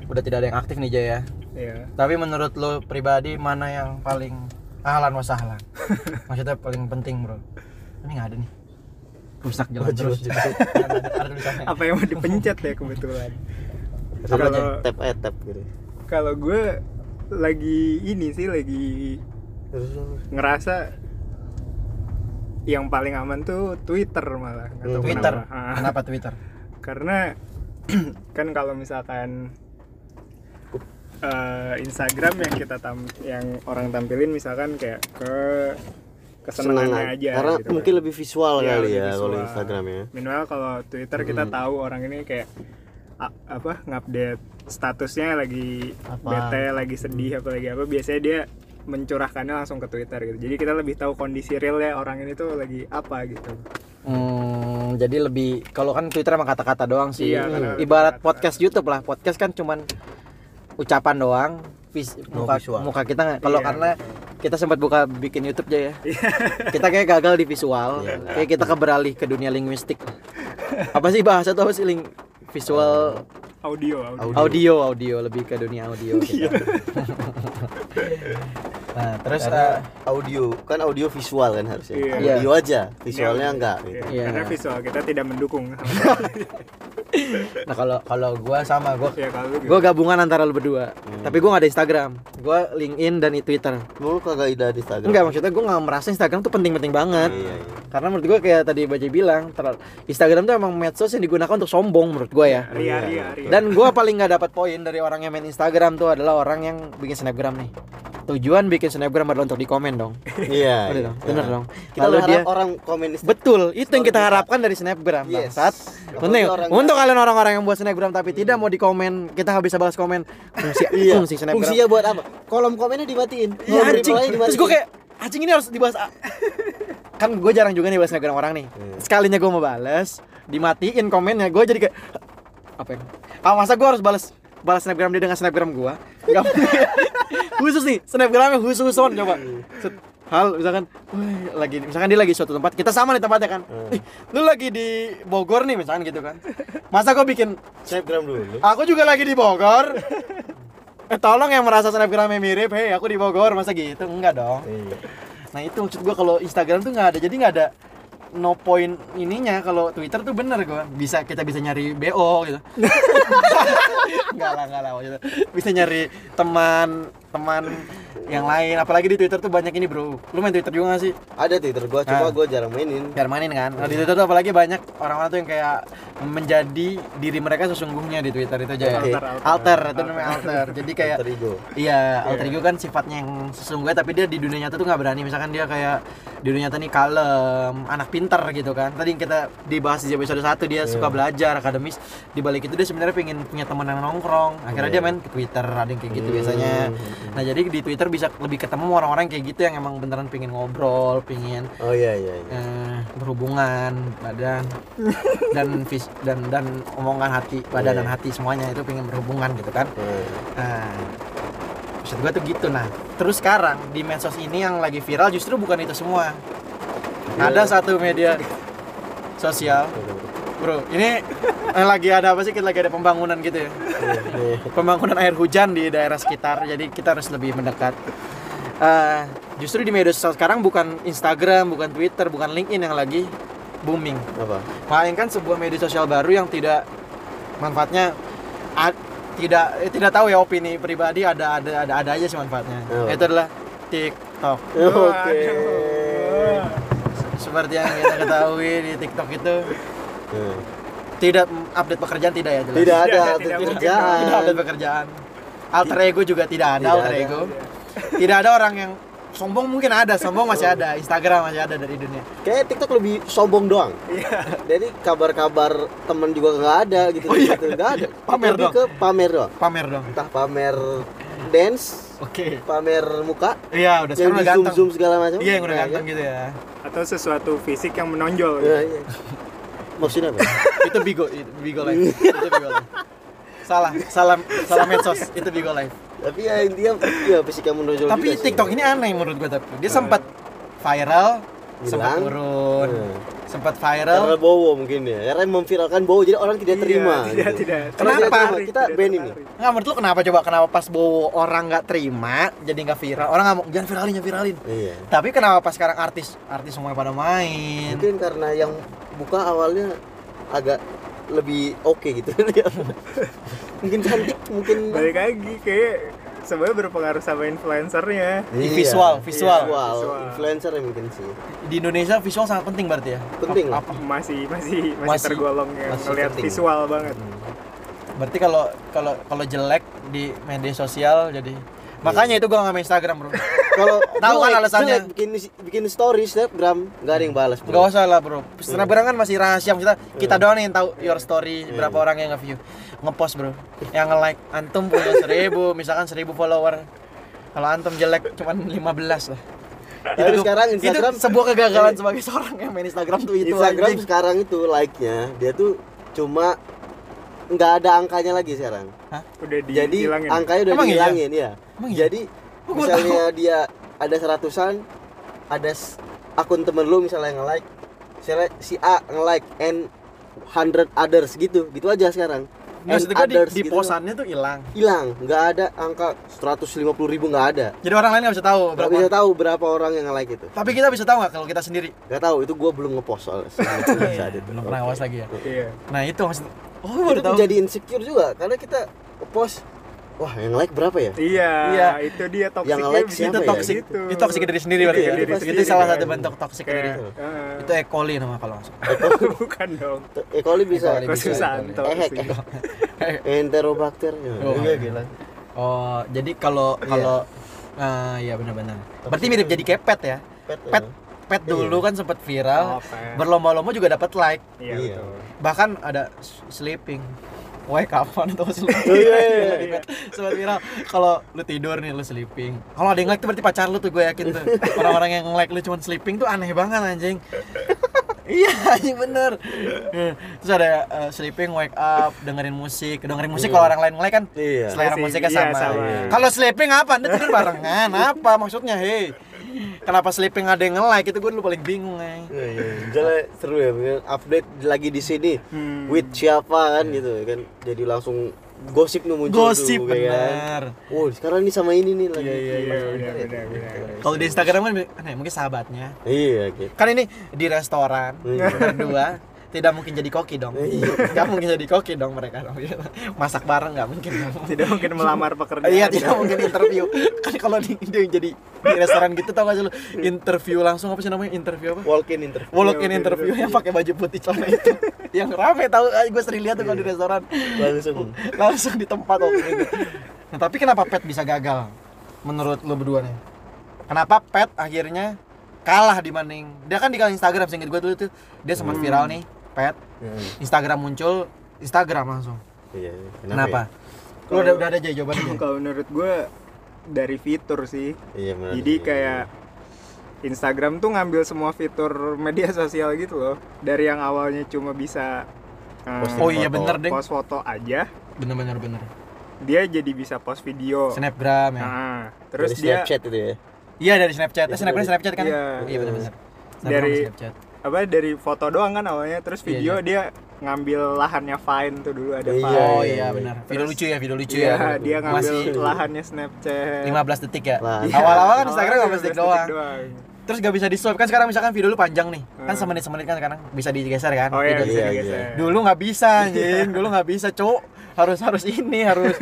Speaker 1: Udah tidak ada yang aktif nih Jay ya.
Speaker 3: Ya.
Speaker 1: Tapi menurut lu pribadi mana yang paling ahlan wa sahlan? Maksudnya paling penting, Bro. Ini nggak ada nih. Rusak jalan terus. Ada- ada tulisannya.
Speaker 3: Apa yang mau dipencet ya kebetulan?
Speaker 2: apa aja
Speaker 3: Kalau-
Speaker 2: tap add tap gitu
Speaker 3: Kalau gue lagi ini sih lagi ngerasa yang paling aman tuh Twitter malah. Nggak tahu
Speaker 1: Twitter.
Speaker 3: kenapa. Ah,
Speaker 1: Kenapa Twitter?
Speaker 3: karena kan kalau misalkan eh, Instagram yang kita tam yang orang tampilin misalkan kayak ke kesenangannya
Speaker 2: Senang
Speaker 3: aja
Speaker 2: karena
Speaker 3: gitu kan.
Speaker 2: mungkin lebih visual
Speaker 3: Iya,
Speaker 2: kali
Speaker 3: lebih
Speaker 2: ya kalau
Speaker 3: visual.
Speaker 2: Instagram ya
Speaker 3: minimal kalau Twitter kita
Speaker 2: Hmm.
Speaker 3: tahu orang ini kayak a- apa ngupdate statusnya lagi
Speaker 1: Apa?
Speaker 3: bete lagi
Speaker 2: Hmm.
Speaker 3: sedih apa lagi apa biasanya dia mencurahkannya langsung ke Twitter gitu jadi kita lebih tahu kondisi realnya orang ini tuh lagi apa gitu
Speaker 1: Hmm, jadi lebih kalau kan Twitter emang kata-kata doang sih. Hmm.
Speaker 3: Iya, kata-kata.
Speaker 1: Ibarat podcast YouTube lah. Podcast kan cuman ucapan doang. Vis,
Speaker 2: No
Speaker 1: muka,
Speaker 2: visual.
Speaker 1: muka kita nggak. Kalau
Speaker 3: Iya.
Speaker 1: karena kita sempat buka bikin YouTube aja ya. kita kayak gagal di visual.
Speaker 2: Iya.
Speaker 1: Kayak kita keberalih ke dunia linguistik. Apa sih bahasa tuh apa sih ling visual
Speaker 3: audio audio
Speaker 1: audio audio lebih ke dunia audio
Speaker 3: Iya.
Speaker 1: kita. nah, terus
Speaker 2: Karena
Speaker 1: eh,
Speaker 2: audio kan audio visual kan harusnya
Speaker 3: Iya.
Speaker 2: audio aja visualnya
Speaker 3: Iya.
Speaker 2: enggak
Speaker 3: Iya,
Speaker 2: gitu.
Speaker 1: Iya.
Speaker 3: karena visual kita tidak mendukung
Speaker 1: nah kalau kalau gua sama gua
Speaker 3: ya kalau lu
Speaker 1: Gue gabungan antara lu berdua,
Speaker 2: Gitu. Hmm.
Speaker 1: tapi gue gak ada Instagram. Gue LinkedIn dan i- Twitter.
Speaker 3: Iya.
Speaker 2: Emang lu kagak ada di Instagram
Speaker 1: Enggak maksudnya gue gak merasa Instagram tuh penting-penting banget.
Speaker 2: iya, iya.
Speaker 1: Karena menurut gue kayak tadi Baji bilang, terlalu- Instagram tuh emang medsos yang digunakan untuk sombong menurut gue ya.
Speaker 2: Iya,
Speaker 3: Ria Ria Ria
Speaker 1: Dan gue paling gak dapat poin dari orang yang main Instagram tuh adalah orang yang bikin snapgram nih. Tujuan bikin snapgram adalah untuk dikomen dong.
Speaker 2: iya
Speaker 1: Bener
Speaker 2: iya.
Speaker 1: dong, bener
Speaker 2: Nah,
Speaker 1: dong.
Speaker 2: kita
Speaker 1: Lalu
Speaker 2: berharap
Speaker 1: dia
Speaker 2: orang komen di
Speaker 1: Betul, itu yang kita
Speaker 2: Story kita.
Speaker 1: harapkan dari snapgram.
Speaker 2: Yes.
Speaker 1: Bangsat. Penting.
Speaker 2: Apalagi orang- Hmm.
Speaker 1: Untuk kalian orang-orang yang buat snapgram tapi tidak mau dikomen, kita nggak bisa balas komen. Fungsi,
Speaker 2: iya
Speaker 1: fungsi snapgram.
Speaker 2: fungsinya buat apa kolom komennya dimatiin
Speaker 1: Iya
Speaker 2: Kolom
Speaker 1: anjing.
Speaker 2: reply-nya
Speaker 1: Terus
Speaker 2: dimatiin.
Speaker 1: gue kayak anjing ini harus dibahas. a-" kan gue jarang juga nih bahas Instagram orang nih.
Speaker 2: Hmm.
Speaker 1: Sekalinya gue mau bales, dimatiin komennya. Gue jadi kayak apa ya? Ah masa gue harus balas balas snapgram dia dengan snapgram gue? Gak mungkin. khusus nih snapgramnya khusus on coba. Set, Hal misalkan, "Wih, lagi misalkan dia lagi di suatu tempat, kita sama nih tempatnya kan.
Speaker 2: Hmm.
Speaker 1: Ih, lu lagi di Bogor nih misalkan gitu kan. Masa gue bikin
Speaker 2: snapgram dulu
Speaker 1: Aku juga lagi di Bogor. eh tolong yang merasa snapgramnya mirip, hei aku di Bogor masa gitu enggak dong.
Speaker 2: Iya.
Speaker 1: Nah itu maksud gua kalau Instagram tuh nggak ada, jadi nggak ada no point ininya kalau Twitter tuh bener gua bisa kita bisa nyari bo gitu nggak lah nggak lah maksudnya. bisa nyari teman teman yang lain apalagi di Twitter tuh banyak ini bro lu main Twitter juga gak sih
Speaker 2: ada Twitter gua
Speaker 1: Ah.
Speaker 2: cuma gua jarang mainin
Speaker 1: biar mainin kan nah, di Twitter tuh apalagi banyak orang-orang tuh yang kayak menjadi diri mereka sesungguhnya di Twitter itu aja ya.
Speaker 2: Oke.
Speaker 1: alter,
Speaker 3: Alter,
Speaker 1: itu namanya alter jadi kayak
Speaker 2: Twitter ego.
Speaker 1: Iya, alter ego kan sifatnya yang sesungguhnya tapi dia di dunia nyata tuh nggak berani. Misalkan dia kayak di dunia nyata nih kalem, anak pinter gitu kan. Tadi yang kita dibahas di episode 1 dia suka belajar akademis. Di balik itu dia sebenarnya pengen punya teman yang nongkrong. Akhirnya dia main ke Twitter, ada yang kayak gitu biasanya. Nah, jadi di Twitter bisa lebih ketemu orang-orang kayak gitu yang emang beneran pengen ngobrol, pengen
Speaker 2: oh iya iya iya.
Speaker 1: eh, berhubungan badan dan fis dan dan omongan hati, badan dan hati semuanya itu pengen berhubungan gitu kan.
Speaker 2: Hmm.
Speaker 1: Nah, maksud gue tuh gitu nah. Terus sekarang di medsos ini yang lagi viral justru bukan itu semua.
Speaker 2: Iya.
Speaker 1: Ada satu media sosial, bro. Ini eh, lagi ada apa sih? Kita lagi ada pembangunan gitu ya.
Speaker 2: Iya, iya.
Speaker 1: Pembangunan air hujan di daerah sekitar. Jadi kita harus lebih mendekat. Eh, justru di media sosial sekarang bukan Instagram bukan Twitter bukan LinkedIn yang lagi booming
Speaker 2: apa
Speaker 1: melainkan kan sebuah media sosial baru yang tidak manfaatnya a- tidak eh, tidak tahu ya opini pribadi ada ada ada ada aja sih manfaatnya
Speaker 2: Oh.
Speaker 1: itu adalah TikTok
Speaker 2: oke Iya.
Speaker 3: Waduh.
Speaker 1: seperti yang kita ketahui di TikTok itu
Speaker 2: Hmm.
Speaker 1: tidak update pekerjaan tidak ya jelas?
Speaker 2: tidak ada
Speaker 3: Tidak,
Speaker 2: update
Speaker 3: tidak mungkin.
Speaker 2: kerjaan
Speaker 1: tidak update pekerjaan alter ego juga tidak ada
Speaker 2: Tidak
Speaker 1: alter
Speaker 2: ada.
Speaker 1: ego tidak ada orang yang sombong mungkin ada sombong masih ada Instagram masih ada dari dunia
Speaker 2: kayak TikTok lebih sombong doang jadi kabar-kabar temen juga nggak ada gitu
Speaker 1: Iya. Oh, iya.
Speaker 2: gitu. nggak ada
Speaker 1: Pamer
Speaker 2: Lebih
Speaker 1: doang.
Speaker 2: ke pamer doang
Speaker 1: pamer dong
Speaker 2: entah pamer dance
Speaker 1: oke
Speaker 2: pamer muka
Speaker 1: iya udah
Speaker 2: yang
Speaker 1: sekarang udah
Speaker 2: di zoom
Speaker 1: ganteng
Speaker 2: zoom segala macam
Speaker 1: iya yang udah
Speaker 2: Nah,
Speaker 1: ganteng
Speaker 2: kan?
Speaker 1: gitu ya
Speaker 3: atau sesuatu fisik yang menonjol
Speaker 2: Nah, iya. maksudnya apa
Speaker 1: itu bigo itu bigo live itu bigo live salah salah salah medsos itu bigo live
Speaker 2: tapi ya intinya ya fisika menonjol
Speaker 1: tapi
Speaker 2: juga sih.
Speaker 1: TikTok ini aneh menurut gue tapi dia sempat viral sempat
Speaker 2: Nah. Hilang.
Speaker 1: turun
Speaker 2: Iya.
Speaker 1: sempat
Speaker 2: karena
Speaker 1: viral
Speaker 2: bowo mungkin ya karena memviralkan bowo jadi orang tidak
Speaker 3: Iya,
Speaker 2: terima
Speaker 3: tidak
Speaker 2: gitu.
Speaker 3: tidak
Speaker 2: Kalau
Speaker 1: tidak
Speaker 3: Tertarik,
Speaker 2: terima, kita
Speaker 3: tidak
Speaker 2: ban
Speaker 3: tertarik.
Speaker 1: nggak menurut lu kenapa coba kenapa pas bowo orang nggak terima jadi nggak viral orang nggak mau jangan viralin jangan viralin
Speaker 2: iya
Speaker 1: tapi kenapa pas sekarang artis artis semua pada main
Speaker 2: mungkin karena yang buka awalnya agak lebih oke gitu Dia- mungkin cantik mungkin
Speaker 3: balik lagi kayak sebenarnya berpengaruh sama influencernya
Speaker 1: Di visual, visual.
Speaker 2: Iya, visual
Speaker 3: Visual.
Speaker 2: influencer ya mungkin sih
Speaker 1: di Indonesia visual sangat penting berarti ya
Speaker 2: Penting.
Speaker 1: Apa- apa?
Speaker 3: masih masih masih,
Speaker 1: Masih-
Speaker 3: tergolong yang
Speaker 2: masih
Speaker 3: ngelihat
Speaker 2: penting.
Speaker 3: visual banget
Speaker 1: berarti kalau kalau kalau jelek di media sosial jadi makanya
Speaker 2: Iya.
Speaker 1: itu gua nggak main Instagram bro
Speaker 2: kalau
Speaker 1: Tahu kan
Speaker 2: jelek-
Speaker 1: alasannya?
Speaker 2: jelek bikin bikin story snapgram nggak ada yang balas bro.
Speaker 1: Gak usah lah
Speaker 2: Iya.
Speaker 1: bro Instagram kan masih rahasia kita kita doang nih yang tahu your story
Speaker 2: Iya.
Speaker 1: berapa orang yang nge-view ngepost bro yang nge-like antum punya seribu misalkan seribu follower kalau antum jelek cuman 15 lah
Speaker 2: Tapi
Speaker 1: tuh-
Speaker 2: sekarang Instagram- Iya.
Speaker 1: itu sebuah kegagalan sebagai seorang yang main Instagram tuh itu
Speaker 2: Instagram
Speaker 1: anjing.
Speaker 2: sekarang itu like-nya dia tuh cuma nggak ada angkanya lagi sekarang.
Speaker 3: udah di
Speaker 2: Jadi
Speaker 3: dihilangin.
Speaker 2: angkanya udah
Speaker 1: Emang iya?
Speaker 2: dihilangin ya.
Speaker 1: Emang iya?
Speaker 2: Jadi
Speaker 1: Oh, gua
Speaker 2: misalnya dia ada seratusan, ada s- akun temen lu misalnya yang like, misalnya si A nge like and 100 others gitu, gitu aja sekarang. And
Speaker 1: Maksud gua di,
Speaker 2: others
Speaker 1: di
Speaker 2: gitu.
Speaker 1: posannya tuh hilang
Speaker 2: hilang, nggak ada angka 150 ribu nggak ada.
Speaker 1: jadi orang lain nggak bisa tahu
Speaker 2: Nggak
Speaker 1: berapa
Speaker 2: bisa tahu berapa orang yang nge like itu.
Speaker 1: tapi kita bisa tahu nggak kalau kita sendiri
Speaker 2: Nggak tahu itu gua belum ngepost soalnya saat itu. Saat itu.
Speaker 1: Iya, belum pernah
Speaker 2: Oke.
Speaker 1: awas lagi ya
Speaker 3: iya
Speaker 1: nah itu maksud oh
Speaker 2: itu
Speaker 1: baru tahu
Speaker 2: menjadi insecure juga karena kita post wah yang like berapa ya
Speaker 3: iya
Speaker 1: Iya.
Speaker 3: itu dia toxic
Speaker 2: Yang nge-like siapa
Speaker 1: itu
Speaker 2: ya?
Speaker 1: toxic
Speaker 3: Gitu.
Speaker 1: itu toxic dari sendiri
Speaker 2: Itu
Speaker 1: berarti
Speaker 2: ya,
Speaker 1: ya?
Speaker 2: dari
Speaker 1: itu
Speaker 2: sendiri
Speaker 1: salah
Speaker 2: kan.
Speaker 1: satu bentuk toxic dari
Speaker 3: kayak eh,
Speaker 1: itu ya? E. coli nama kalau nggak salah.
Speaker 3: bukan dong
Speaker 2: E. coli bisa
Speaker 1: E. coli
Speaker 3: Kosu
Speaker 1: bisa,
Speaker 3: Santo
Speaker 2: Ehek,
Speaker 3: sih.
Speaker 2: ehek. enterobacter
Speaker 1: Oh,
Speaker 2: Iya, gila.
Speaker 1: oh jadi kalau
Speaker 2: Iya.
Speaker 1: kalau ah ya benar-benar berarti mirip jadi kayak pet ya
Speaker 2: Pet,
Speaker 1: pet
Speaker 2: ya.
Speaker 1: pet dulu kan sempat viral
Speaker 3: Oh, pet.
Speaker 1: berlomba-lomba juga dapat like
Speaker 3: iya
Speaker 2: Iya.
Speaker 3: betul
Speaker 1: bahkan ada s- sleeping Why kapan tuh sleeping?
Speaker 2: Oh, iya, iya,
Speaker 1: Lagi pet. Sempat viral kalau lu tidur nih lu sleeping. Kalau ada yang like tuh berarti pacar lu tuh gue yakin tuh. Orang-orang yang like lu cuman sleeping tuh aneh banget anjing. iya anjing bener Eh, Terus ada eh, sleeping, wake up, dengerin musik Dengerin musik kalau orang lain like kan
Speaker 2: Iya.
Speaker 1: selera
Speaker 3: Masih-
Speaker 1: musiknya
Speaker 3: iya,
Speaker 1: sama,
Speaker 3: sama.
Speaker 1: Kalau sleeping apa? Anda tidur barengan apa maksudnya hei Kenapa sleeping ada yang nge-like itu gue dulu paling bingung eh. anjing
Speaker 2: Iya, iya. Jalan seru ya bener. update lagi di sini
Speaker 3: Hmm.
Speaker 2: with siapa kan gitu kan jadi langsung gosip nih muncul
Speaker 1: Gosip,
Speaker 2: tuh, ya kan.
Speaker 1: bener.
Speaker 2: oh sekarang ini sama ini nih lagi
Speaker 1: Iya, iya,
Speaker 3: iya
Speaker 2: Sama ini,
Speaker 3: benar
Speaker 2: ya.
Speaker 3: benar benar
Speaker 1: Kalau di Instagram kan aneh, mungkin sahabatnya
Speaker 2: iya gitu
Speaker 1: kan ini di restoran
Speaker 2: Iya.
Speaker 1: berdua tidak mungkin jadi koki dong
Speaker 2: Iya.
Speaker 1: nggak mungkin jadi koki dong mereka dong. masak bareng nggak mungkin
Speaker 3: tidak mungkin melamar pekerjaan
Speaker 1: iya tidak mungkin interview kan kalau di, dia jadi di restoran gitu tau gak sih lu interview langsung apa sih namanya interview apa
Speaker 2: walk in interview
Speaker 1: Walk in interview yang pakai baju putih celana itu yang rame tau gue sering lihat tuh kalau di restoran
Speaker 2: langsung
Speaker 1: langsung di tempat waktu itu. Nah, tapi kenapa pet bisa gagal menurut lo berdua nih? Kenapa pet akhirnya kalah dibanding dia kan di kala Instagram seingat gue dulu tuh dia sempat viral nih pet Instagram muncul Instagram langsung
Speaker 2: iya
Speaker 1: kenapa,
Speaker 2: ya?
Speaker 1: Lo udah udah ada aja jawabannya Jay.
Speaker 3: kalau menurut gue dari fitur sih
Speaker 2: iya benar
Speaker 3: Jadi
Speaker 2: Iya.
Speaker 3: kayak Instagram tuh ngambil semua fitur media sosial gitu loh. Dari yang awalnya cuma bisa eh,
Speaker 2: Posting
Speaker 1: oh iya
Speaker 2: foto.
Speaker 1: bener deh
Speaker 3: post foto aja,
Speaker 1: bener bener bener
Speaker 3: dia jadi bisa post video.
Speaker 1: snapgram ya
Speaker 3: Nah,
Speaker 2: Dari
Speaker 3: terus dia
Speaker 2: Snapchat itu ya
Speaker 1: iya dari snapchat Eh, snapgram snapchat kan
Speaker 3: Iya.
Speaker 1: iya bener bener Snapgram
Speaker 3: Dari-
Speaker 1: Snapchat.
Speaker 3: apa dari foto doang kan awalnya, terus
Speaker 1: Iya,
Speaker 3: video dia ngambil lahannya Vine tuh dulu ada
Speaker 2: Iya,
Speaker 3: Vine.
Speaker 1: oh
Speaker 2: iya,
Speaker 1: iya
Speaker 2: iya.
Speaker 1: benar video lucu ya video lucu
Speaker 3: Iya,
Speaker 1: ya
Speaker 3: dia ngambil
Speaker 1: masih
Speaker 3: lahannya Snapchat. Iya,
Speaker 1: 15 detik ya
Speaker 2: Lah.
Speaker 1: awal-awal kan
Speaker 3: Awalnya
Speaker 1: Instagram 15 detik
Speaker 3: 15
Speaker 1: doang terus gak bisa di swipe kan sekarang misalkan video lu panjang nih kan
Speaker 3: Hmm.
Speaker 1: semenit semenit kan sekarang bisa digeser kan
Speaker 3: Oh iya,
Speaker 1: video.
Speaker 3: bisa
Speaker 2: Iya,
Speaker 3: digeser.
Speaker 2: iya.
Speaker 1: dulu nggak bisa anjing dulu nggak bisa cuk harus harus ini harus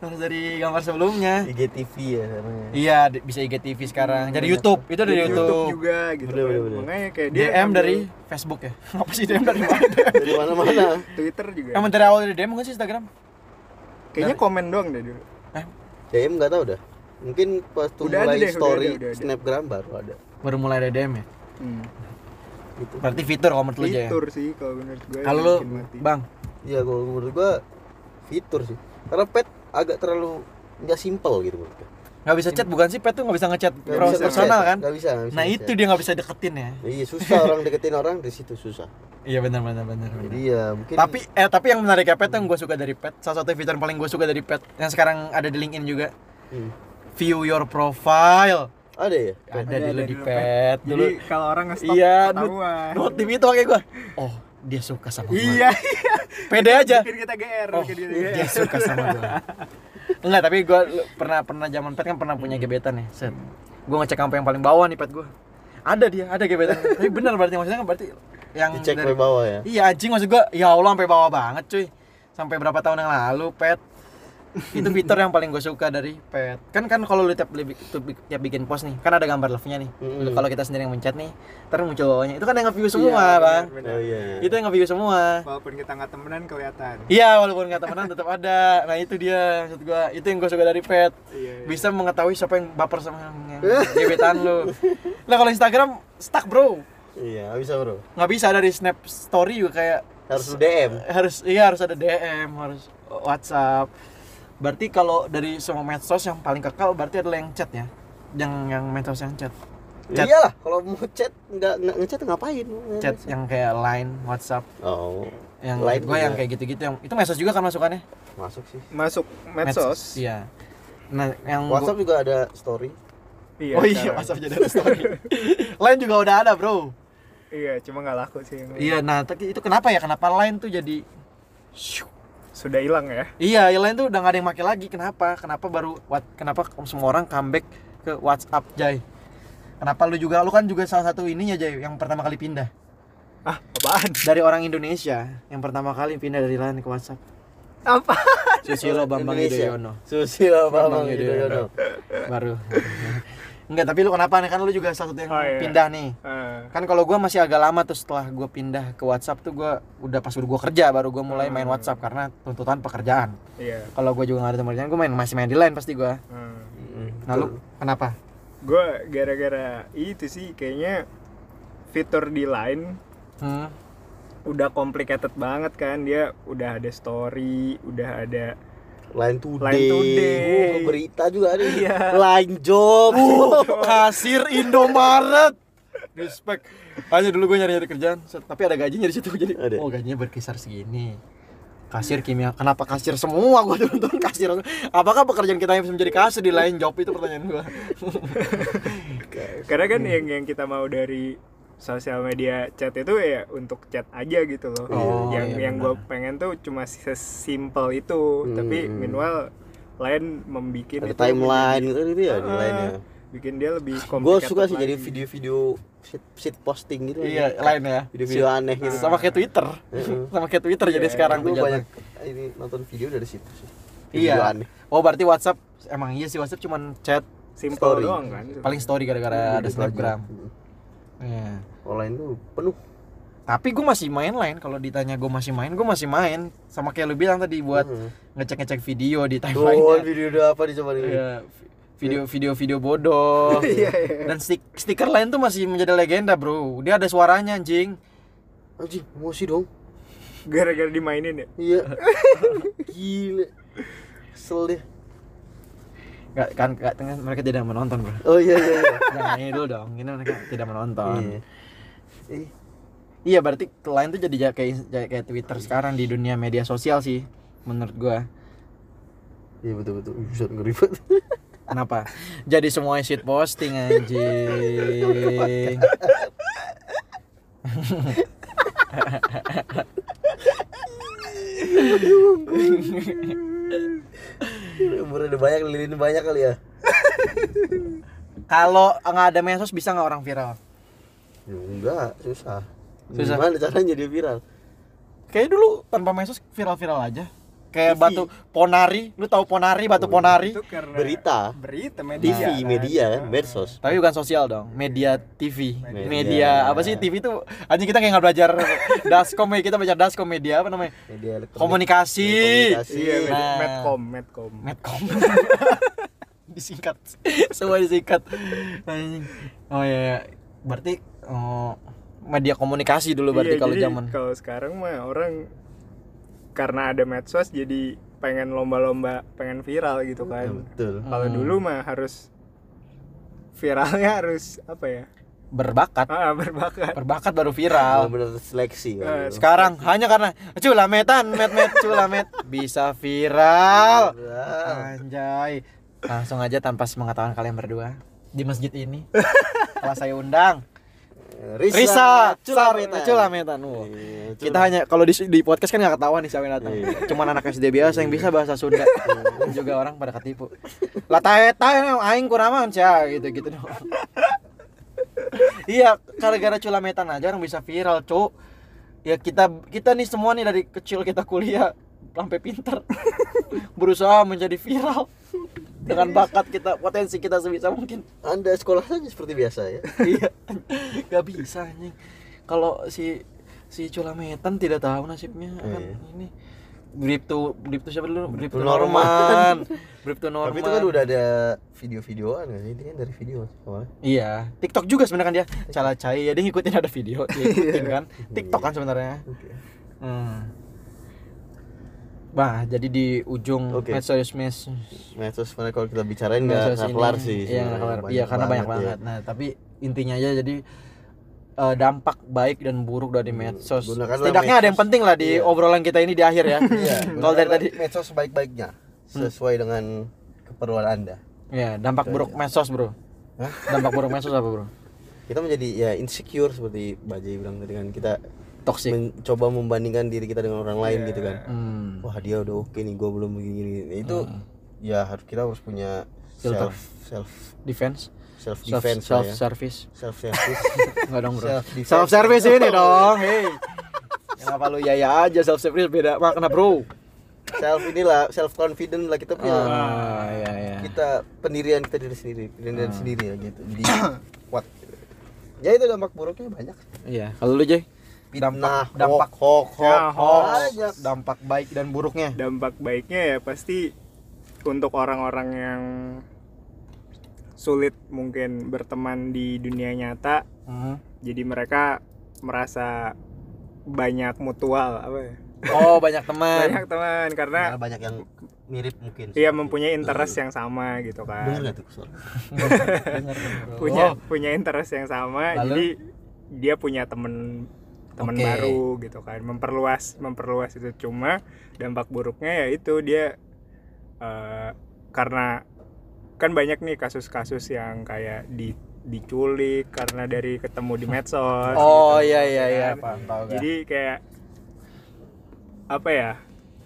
Speaker 1: harus dari gambar sebelumnya
Speaker 2: IGTV ya namanya.
Speaker 1: iya di- bisa IGTV sekarang jadi
Speaker 2: bener.
Speaker 1: YouTube itu
Speaker 3: Di
Speaker 1: dari YouTube,
Speaker 3: Hmm, iya. YouTube juga gitu.
Speaker 2: Bener,
Speaker 3: kan.
Speaker 2: bener, bener.
Speaker 3: Makanya kayak dia
Speaker 1: DM
Speaker 3: ngambil Iya.
Speaker 1: dari Facebook ya apa sih DM dari mana
Speaker 2: Dari mana-mana.
Speaker 3: Twitter juga.
Speaker 1: emang dari awal dari DM mungkin sih Instagram Nah.
Speaker 3: Kayaknya komen doang deh dulu.
Speaker 2: DM nggak tahu dah. Mungkin pas tuh
Speaker 3: Udah ada
Speaker 2: mulai
Speaker 3: deh, udah
Speaker 2: story
Speaker 3: ada, udah ada.
Speaker 2: snapgram baru ada.
Speaker 1: baru mulai dari DM ya
Speaker 3: Hmm.
Speaker 2: Gitu.
Speaker 1: berarti fitur kalau menurut lu aja ya
Speaker 3: Fitur sih kalau menurut gue.
Speaker 1: kalau lu
Speaker 3: bikin mati.
Speaker 1: bang
Speaker 2: Iya kalau menurut gua fitur sih. Karena pet agak terlalu nggak simple gitu menurut gua.
Speaker 1: nggak bisa chat bukan sih pet tuh nggak bisa ngechat
Speaker 2: Nggak
Speaker 1: pers-
Speaker 2: bisa
Speaker 1: personal
Speaker 2: ngechat,
Speaker 1: kan
Speaker 2: nggak bisa, nggak bisa
Speaker 1: nah
Speaker 2: ngechat.
Speaker 1: itu dia nggak bisa deketin ya
Speaker 2: Iya susah orang deketin orang di situ susah.
Speaker 1: iya benar benar benar benar.
Speaker 2: Jadi ya mungkin
Speaker 1: tapi eh tapi yang menarik ya pet yang gue suka dari pet salah satu fitur yang paling gue suka dari pet yang sekarang ada di LinkedIn juga
Speaker 2: Hmm.
Speaker 1: view your profile
Speaker 2: ada ya.
Speaker 1: ada, di
Speaker 3: Ada, ada
Speaker 1: lu
Speaker 3: di
Speaker 1: di
Speaker 3: lu,
Speaker 1: pet
Speaker 3: Jadi
Speaker 1: dulu
Speaker 3: kalau orang nge-stop
Speaker 1: iya nut
Speaker 3: ketahuan.
Speaker 1: notif itu kayak gue oh dia suka sama gue
Speaker 3: Iya, iya.
Speaker 1: pede aja
Speaker 3: Bikin kita GR,
Speaker 1: oh
Speaker 3: bikin kita
Speaker 1: dia
Speaker 3: GR.
Speaker 1: suka sama gue enggak tapi gue pernah pernah zaman pet kan pernah punya gebetan ya set gue ngecek sampai yang paling bawah nih pet gue ada dia ada gebetan tapi benar berarti maksudnya kan berarti yang
Speaker 2: Dicek
Speaker 1: dari-
Speaker 2: dari bawah ya.
Speaker 1: Iya anjing maksud gua, ya Allah sampai bawah banget cuy. Sampai berapa tahun yang lalu, pet. Itu fitur yang paling gue suka dari pet. Kan kan kalau lu tiap li- tu- tiap bikin post nih, kan ada gambar love-nya nih.
Speaker 2: Mm-mm.
Speaker 1: Kalau kita sendiri yang mencet nih, terus muncul bawahnya. Itu kan yang nge-view semua,
Speaker 3: Iya,
Speaker 1: Bang.
Speaker 2: Oh
Speaker 3: bener, bener.
Speaker 2: iya. iya.
Speaker 1: Itu yang nge-view semua.
Speaker 3: Walaupun kita nggak temenan kelihatan.
Speaker 1: Iya, walaupun nggak temenan tetap ada. Nah, itu dia maksud gua. Itu yang gue suka dari pet.
Speaker 3: Iya, iya.
Speaker 1: Bisa mengetahui siapa yang baper sama yang yang gebetan lu. Nah, kalau Instagram stuck, Bro.
Speaker 2: Iya nggak bisa bro.
Speaker 1: Nggak bisa dari snap story juga kayak
Speaker 2: Harus lu DM.
Speaker 1: harus iya harus ada DM harus WhatsApp berarti kalau dari semua medsos yang paling kekal berarti adalah yang chat ya yang yang medsos yang chat Chat.
Speaker 2: Iyalah kalau mau chat nggak nggak ngechat ngapain?
Speaker 1: chat yang kayak Line WhatsApp
Speaker 2: Oh.
Speaker 1: yang
Speaker 2: Line
Speaker 1: gue yang
Speaker 2: juga.
Speaker 1: kayak gitu-gitu yang itu medsos juga kan masukannya
Speaker 2: Masuk sih.
Speaker 3: Masuk medsos.
Speaker 1: iya nah yang gua-
Speaker 2: WhatsApp juga ada story.
Speaker 3: Iya.
Speaker 1: oh iya
Speaker 3: sekarang.
Speaker 1: WhatsApp jadi ada story Line juga udah ada bro
Speaker 3: Iya, cuma nggak laku sih. yang
Speaker 1: iya nah tapi itu kenapa ya kenapa Line tuh jadi Syuk.
Speaker 3: Sudah hilang ya.
Speaker 1: Iya, yang lain tuh udah gak ada yang pakai lagi. Kenapa? Kenapa baru what- kenapa semua orang comeback ke WhatsApp, Jay? Kenapa lu juga lu kan juga salah satu ininya, Jay, yang pertama kali pindah
Speaker 3: Ah, apaan?
Speaker 1: dari orang Indonesia yang pertama kali pindah dari LINE ke WhatsApp.
Speaker 3: Apa?
Speaker 1: Susilo Bambang
Speaker 2: Indonesia.
Speaker 1: Yudhoyono.
Speaker 2: Susilo Bambang
Speaker 1: Bambang
Speaker 2: Yudhoyono.
Speaker 1: Baru. Enggak, tapi lu kenapa nih? Kan lu juga salah satu yang
Speaker 3: Oh, iya.
Speaker 1: pindah nih.
Speaker 3: Eh,
Speaker 1: Kan kalau gua masih agak lama tuh setelah gua pindah ke WhatsApp tuh gua udah pas udah gua kerja baru gua mulai main
Speaker 3: Hmm.
Speaker 1: WhatsApp karena tuntutan pekerjaan.
Speaker 3: iya.
Speaker 1: Kalau gua juga gak ada teman kerjaan, gua main masih main di LINE pasti gua.
Speaker 3: Eh.
Speaker 1: Nah, lu kenapa?
Speaker 3: Gue gara-gara itu sih kayaknya fitur di line
Speaker 1: Hmm.
Speaker 3: udah complicated banget kan dia udah ada story udah ada
Speaker 2: Line Today.
Speaker 3: Line Today.
Speaker 2: Oh, berita juga ada.
Speaker 3: Iya.
Speaker 2: Line Job.
Speaker 1: Uh. kasir Indomaret. Respect. Aja dulu gue nyari-nyari kerjaan, set. tapi ada gajinya di situ jadi
Speaker 2: Ada.
Speaker 1: oh gajinya berkisar segini. Kasir kimia, kenapa kasir semua gua turun-turun kasir? Apakah pekerjaan kita yang bisa menjadi kasir di lain job itu pertanyaan gua.
Speaker 3: karena
Speaker 2: Hmm.
Speaker 3: kan yang yang kita mau dari sosial media chat itu ya untuk chat aja gitu loh
Speaker 1: Oh,
Speaker 3: yang
Speaker 1: iya
Speaker 3: yang gue
Speaker 1: benar.
Speaker 3: pengen tuh cuma sesimpel itu
Speaker 2: Hmm.
Speaker 3: tapi meanwhile lain membikin
Speaker 2: Ada
Speaker 3: itu
Speaker 2: timeline gitu kan gitu ya
Speaker 1: Uh.
Speaker 2: di
Speaker 3: Ah.
Speaker 2: line ya.
Speaker 3: bikin dia lebih
Speaker 2: Gue
Speaker 3: complicated
Speaker 2: suka sih jadi
Speaker 3: lagi.
Speaker 2: video-video shit, shit posting gitu.
Speaker 1: iya, lain ya.
Speaker 2: Video-video aneh gitu.
Speaker 1: Sama kayak Twitter.
Speaker 2: Heeh.
Speaker 1: Sama kayak Twitter jadi
Speaker 3: Iya,
Speaker 1: sekarang
Speaker 2: Gue
Speaker 1: tuh Hmm. jatuh.
Speaker 2: banyak eh, ini nonton video dari situ sih. Video
Speaker 1: Iya.
Speaker 2: aneh.
Speaker 1: Oh, berarti WhatsApp emang iya sih WhatsApp cuman chat
Speaker 3: simple
Speaker 2: story.
Speaker 3: doang kan
Speaker 1: paling story gara-gara ada
Speaker 2: Gitu aja.
Speaker 1: Snapgram.
Speaker 2: Mm.
Speaker 1: Iya.
Speaker 2: Online tuh penuh.
Speaker 1: tapi gue masih main lain kalau ditanya gue masih main gue masih main sama kayak lu bilang tadi buat
Speaker 2: Heeh.
Speaker 1: ngecek ngecek video di
Speaker 2: Tuh
Speaker 1: timeline
Speaker 2: video apa dicoba
Speaker 1: Iya.
Speaker 2: nih?
Speaker 1: video video video bodoh
Speaker 3: Iya, iya.
Speaker 1: dan stik- stiker lain tuh masih menjadi legenda bro dia ada suaranya anjing
Speaker 2: Anjing, emosi dong.
Speaker 3: gara-gara dimainin ya
Speaker 2: Iya. Gila. Kesel deh.
Speaker 1: Nggak- kan nggak- kan mereka tidak menonton bro
Speaker 2: Oh iya iya. iya.
Speaker 1: jangan ini dulu dong ini mereka tidak menonton
Speaker 2: Iya. Eh,
Speaker 1: Iya berarti lain tuh jadi kayak kayak Twitter sekarang di dunia media sosial sih menurut gua.
Speaker 2: Iya betul betul. Buset ngeri banget.
Speaker 1: Kenapa? Jadi semua shit posting anjing.
Speaker 2: Umurnya udah banyak, lilin banyak kali ya.
Speaker 1: Kalau nggak ada medsos bisa nggak orang viral?
Speaker 2: Ya, enggak, susah.
Speaker 1: Susah.
Speaker 2: Gimana caranya jadi viral?
Speaker 1: Kayaknya dulu tanpa medsos viral-viral aja. Kayak batu ponari, lu tahu ponari, batu ponari.
Speaker 3: Itu karena
Speaker 2: Berita.
Speaker 3: berita media
Speaker 2: TV,
Speaker 3: kan.
Speaker 2: media kan, medsos.
Speaker 1: Tapi bukan sosial dong, media TV.
Speaker 2: Media.
Speaker 1: Media, apa sih TV itu? Anjing kita kayak nggak belajar daskom ya, kita belajar daskom media apa namanya?
Speaker 2: Media elektronik.
Speaker 1: Komunikasi.
Speaker 2: Komunikasi.
Speaker 3: Iya, med-
Speaker 1: Nah.
Speaker 3: medcom, medcom.
Speaker 1: Medcom. disingkat. Semua disingkat. Anjing. Oh iya, iya. berarti oh, media komunikasi dulu berarti
Speaker 3: Iya,
Speaker 1: kalau
Speaker 3: jadi
Speaker 1: zaman.
Speaker 3: kalau sekarang mah orang karena ada medsos jadi pengen lomba-lomba, pengen viral gitu
Speaker 2: Ya,
Speaker 3: kan.
Speaker 2: betul.
Speaker 3: Kalau
Speaker 1: Hmm.
Speaker 3: dulu mah harus viralnya harus apa ya?
Speaker 1: Berbakat,
Speaker 3: Ah, berbakat.
Speaker 1: berbakat baru
Speaker 3: Oh,
Speaker 1: viral.
Speaker 2: Bener-bener Ah, seleksi kan.
Speaker 3: Eh,
Speaker 1: Sekarang hanya karena culametan, met met culamet bisa viral. Anjay. Langsung aja tanpa mengatakan kalian berdua di masjid ini. Kalau saya undang
Speaker 2: Risa,
Speaker 1: Risa,
Speaker 2: Culametan.
Speaker 1: Sar- Culametan. Wah.
Speaker 2: Iya,
Speaker 1: Kita hanya kalau di, di podcast kan nggak ketahuan nih siapa yang datang.
Speaker 2: Iya.
Speaker 1: Cuman anak SD biasa yang bisa bahasa Sunda. Iya. Juga orang pada ketipu. Lah tae tae aing kuraman sia gitu-gitu doang. iya, gara-gara culametan aja orang bisa viral, Cuk. Ya kita kita nih semua nih dari kecil kita kuliah sampai pinter berusaha menjadi viral dengan bakat kita potensi kita sebisa mungkin
Speaker 2: Anda sekolah saja seperti biasa ya.
Speaker 1: iya nggak bisa anjing kalau si si culametan tidak tahu nasibnya kan
Speaker 2: Iya.
Speaker 1: ini Bripto Bripto siapa dulu Bripto
Speaker 2: Norman.
Speaker 1: Norman Bripto Norman
Speaker 2: Tapi itu kan udah ada video-videoan kan? Ini kan dari video awalnya.
Speaker 1: iya TikTok juga sebenarnya kan dia cala cai ya dia ngikutin ada video
Speaker 2: Iya.
Speaker 1: dia ngikutin kan TikTok kan sebenarnya
Speaker 2: Oke.
Speaker 1: hmm. Wah, jadi di ujung
Speaker 2: Oke.
Speaker 1: medsos medsos
Speaker 2: Medsos sebenarnya kalau kita bicarain nggak
Speaker 1: medsos
Speaker 2: nggak
Speaker 1: ini,
Speaker 2: kelar sih.
Speaker 1: Iya, nggak
Speaker 2: sebenarnya.
Speaker 1: kelar. Iya, karena banyak banget.
Speaker 2: ya.
Speaker 1: Nah, tapi intinya aja jadi eh, dampak baik dan buruk dari
Speaker 2: Hmm,
Speaker 1: medsos.
Speaker 2: gunakanlah
Speaker 1: Setidaknya ada yang
Speaker 2: medsos.
Speaker 1: penting lah di
Speaker 2: Iya.
Speaker 1: obrolan kita ini di akhir ya.
Speaker 2: Iya.
Speaker 1: Kalau dari tadi Hmm.
Speaker 2: medsos baik-baiknya sesuai dengan keperluan Anda.
Speaker 1: ya dampak buruk medsos, Bro.
Speaker 2: Iya. Hah?
Speaker 1: Dampak buruk medsos apa, Bro?
Speaker 2: Kita menjadi ya insecure seperti Bajai bilang tadi kan kita
Speaker 1: Toxic.
Speaker 2: mencoba membandingkan diri kita dengan orang lain gitu kan.
Speaker 1: Hmm.
Speaker 2: Wah, dia udah oke nih, gua belum begini. gini. Itu ya harus kita harus punya
Speaker 1: Filter.
Speaker 2: self self
Speaker 1: Defense,
Speaker 2: self
Speaker 1: self,
Speaker 2: defense lah
Speaker 1: self
Speaker 2: ya.
Speaker 1: service.
Speaker 2: Self service.
Speaker 1: Enggak dong, Bro.
Speaker 2: Self defense.
Speaker 1: Self service ini dong. Hei. Kenapa lu ya ya aja self service beda makna, Bro?
Speaker 2: self inilah self confident lah kita punya
Speaker 1: Ah, ya ya.
Speaker 2: Iya. kita pendirian kita diri sendiri pendirian sendiri lah gitu jadi kuat ya itu dampak buruknya banyak
Speaker 1: Iya, kalau lu Jay?
Speaker 2: Nah,
Speaker 1: Dampak dampak
Speaker 2: hoax hoax
Speaker 3: Ya,
Speaker 2: hoax.
Speaker 1: hoax, dampak baik dan buruknya.
Speaker 3: Dampak baiknya ya pasti untuk orang-orang yang sulit mungkin berteman di dunia nyata, jadi mereka merasa banyak mutual apa ya?
Speaker 1: Oh banyak teman.
Speaker 3: Banyak teman karena
Speaker 2: Nah, banyak yang mirip mungkin
Speaker 3: Iya mempunyai interest yang sama gitu
Speaker 2: bener
Speaker 3: kan.
Speaker 2: nggak tuh soal
Speaker 3: Punya
Speaker 1: Oh,
Speaker 3: punya interest yang sama.
Speaker 1: Lalu?
Speaker 3: Jadi dia punya temen teman
Speaker 1: Oke.
Speaker 3: baru gitu kan. Memperluas memperluas itu cuma dampak buruknya ya itu dia eh, karena kan banyak nih kasus-kasus yang kayak di diculik karena dari ketemu di medsos.
Speaker 1: oh
Speaker 3: gitu.
Speaker 1: iya iya iya.
Speaker 3: Kan?
Speaker 1: Paham, tau gak?
Speaker 3: Jadi kayak apa ya?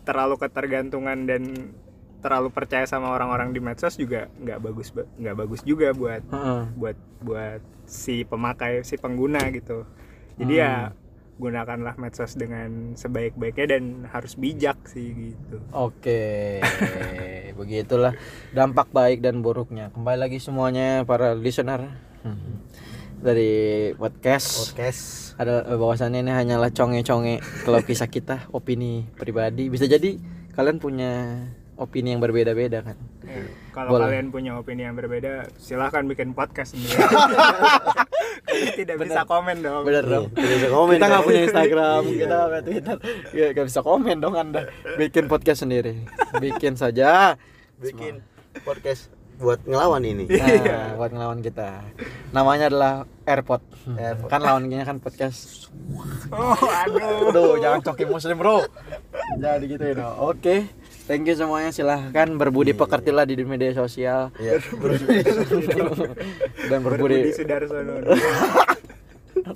Speaker 3: Terlalu ketergantungan dan terlalu percaya sama orang-orang di medsos juga nggak bagus ba- nggak bagus juga buat
Speaker 1: Heeh.
Speaker 3: buat buat si pemakai si pengguna gitu. Jadi
Speaker 1: Hmm.
Speaker 3: ya gunakanlah medsos dengan sebaik-baiknya dan harus bijak sih gitu.
Speaker 1: Oke, begitulah dampak baik dan buruknya. Kembali lagi semuanya para listener Hmm. dari podcast.
Speaker 2: podcast
Speaker 1: Ada eh, bahwasannya ini hanyalah conge-conge kalau kisah kita, opini pribadi. Bisa jadi kalian punya opini yang berbeda-beda kan.
Speaker 3: Ya, Kalau
Speaker 1: Boleh.
Speaker 3: kalian punya opini yang berbeda, silahkan bikin podcast sendiri. Kalian tidak bisa komen dong.
Speaker 1: Bener
Speaker 2: Iya,
Speaker 1: dong.
Speaker 2: tidak bisa komen
Speaker 1: kita kan? nggak
Speaker 2: dong.
Speaker 1: punya Instagram,
Speaker 2: Iya.
Speaker 1: kita nggak punya Twitter, ya nggak bisa komen dong Anda. Bikin podcast sendiri, bikin saja.
Speaker 2: bikin podcast buat ngelawan ini
Speaker 1: Nah, buat ngelawan kita. Namanya adalah Airpod.
Speaker 2: Airpod.
Speaker 1: Kan lawannya kan podcast.
Speaker 3: Oh, aduh.
Speaker 1: Aduh, jangan coki muslim bro. Jadi gitu ya. dong. Oke, thank you semuanya. Silahkan berbudi pekertilah di media sosial
Speaker 2: ya
Speaker 1: dan berbudi.
Speaker 3: Berbudi Sudarsono.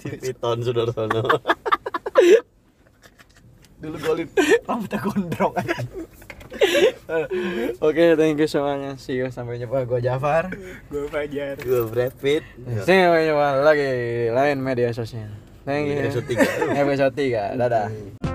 Speaker 2: Piton saudara sono dulu golin
Speaker 1: Rambutnya gondrong aja. Oke, thank you semuanya. See you sampai jumpa. Gua Jafar.
Speaker 3: gue Fajar
Speaker 2: gue Brad Pitt
Speaker 1: Ya. Iya. Sampai jumpa lagi di lain media sosial. Thank you.
Speaker 2: Iya, Episode tiga.
Speaker 1: Episode 3. Dadah.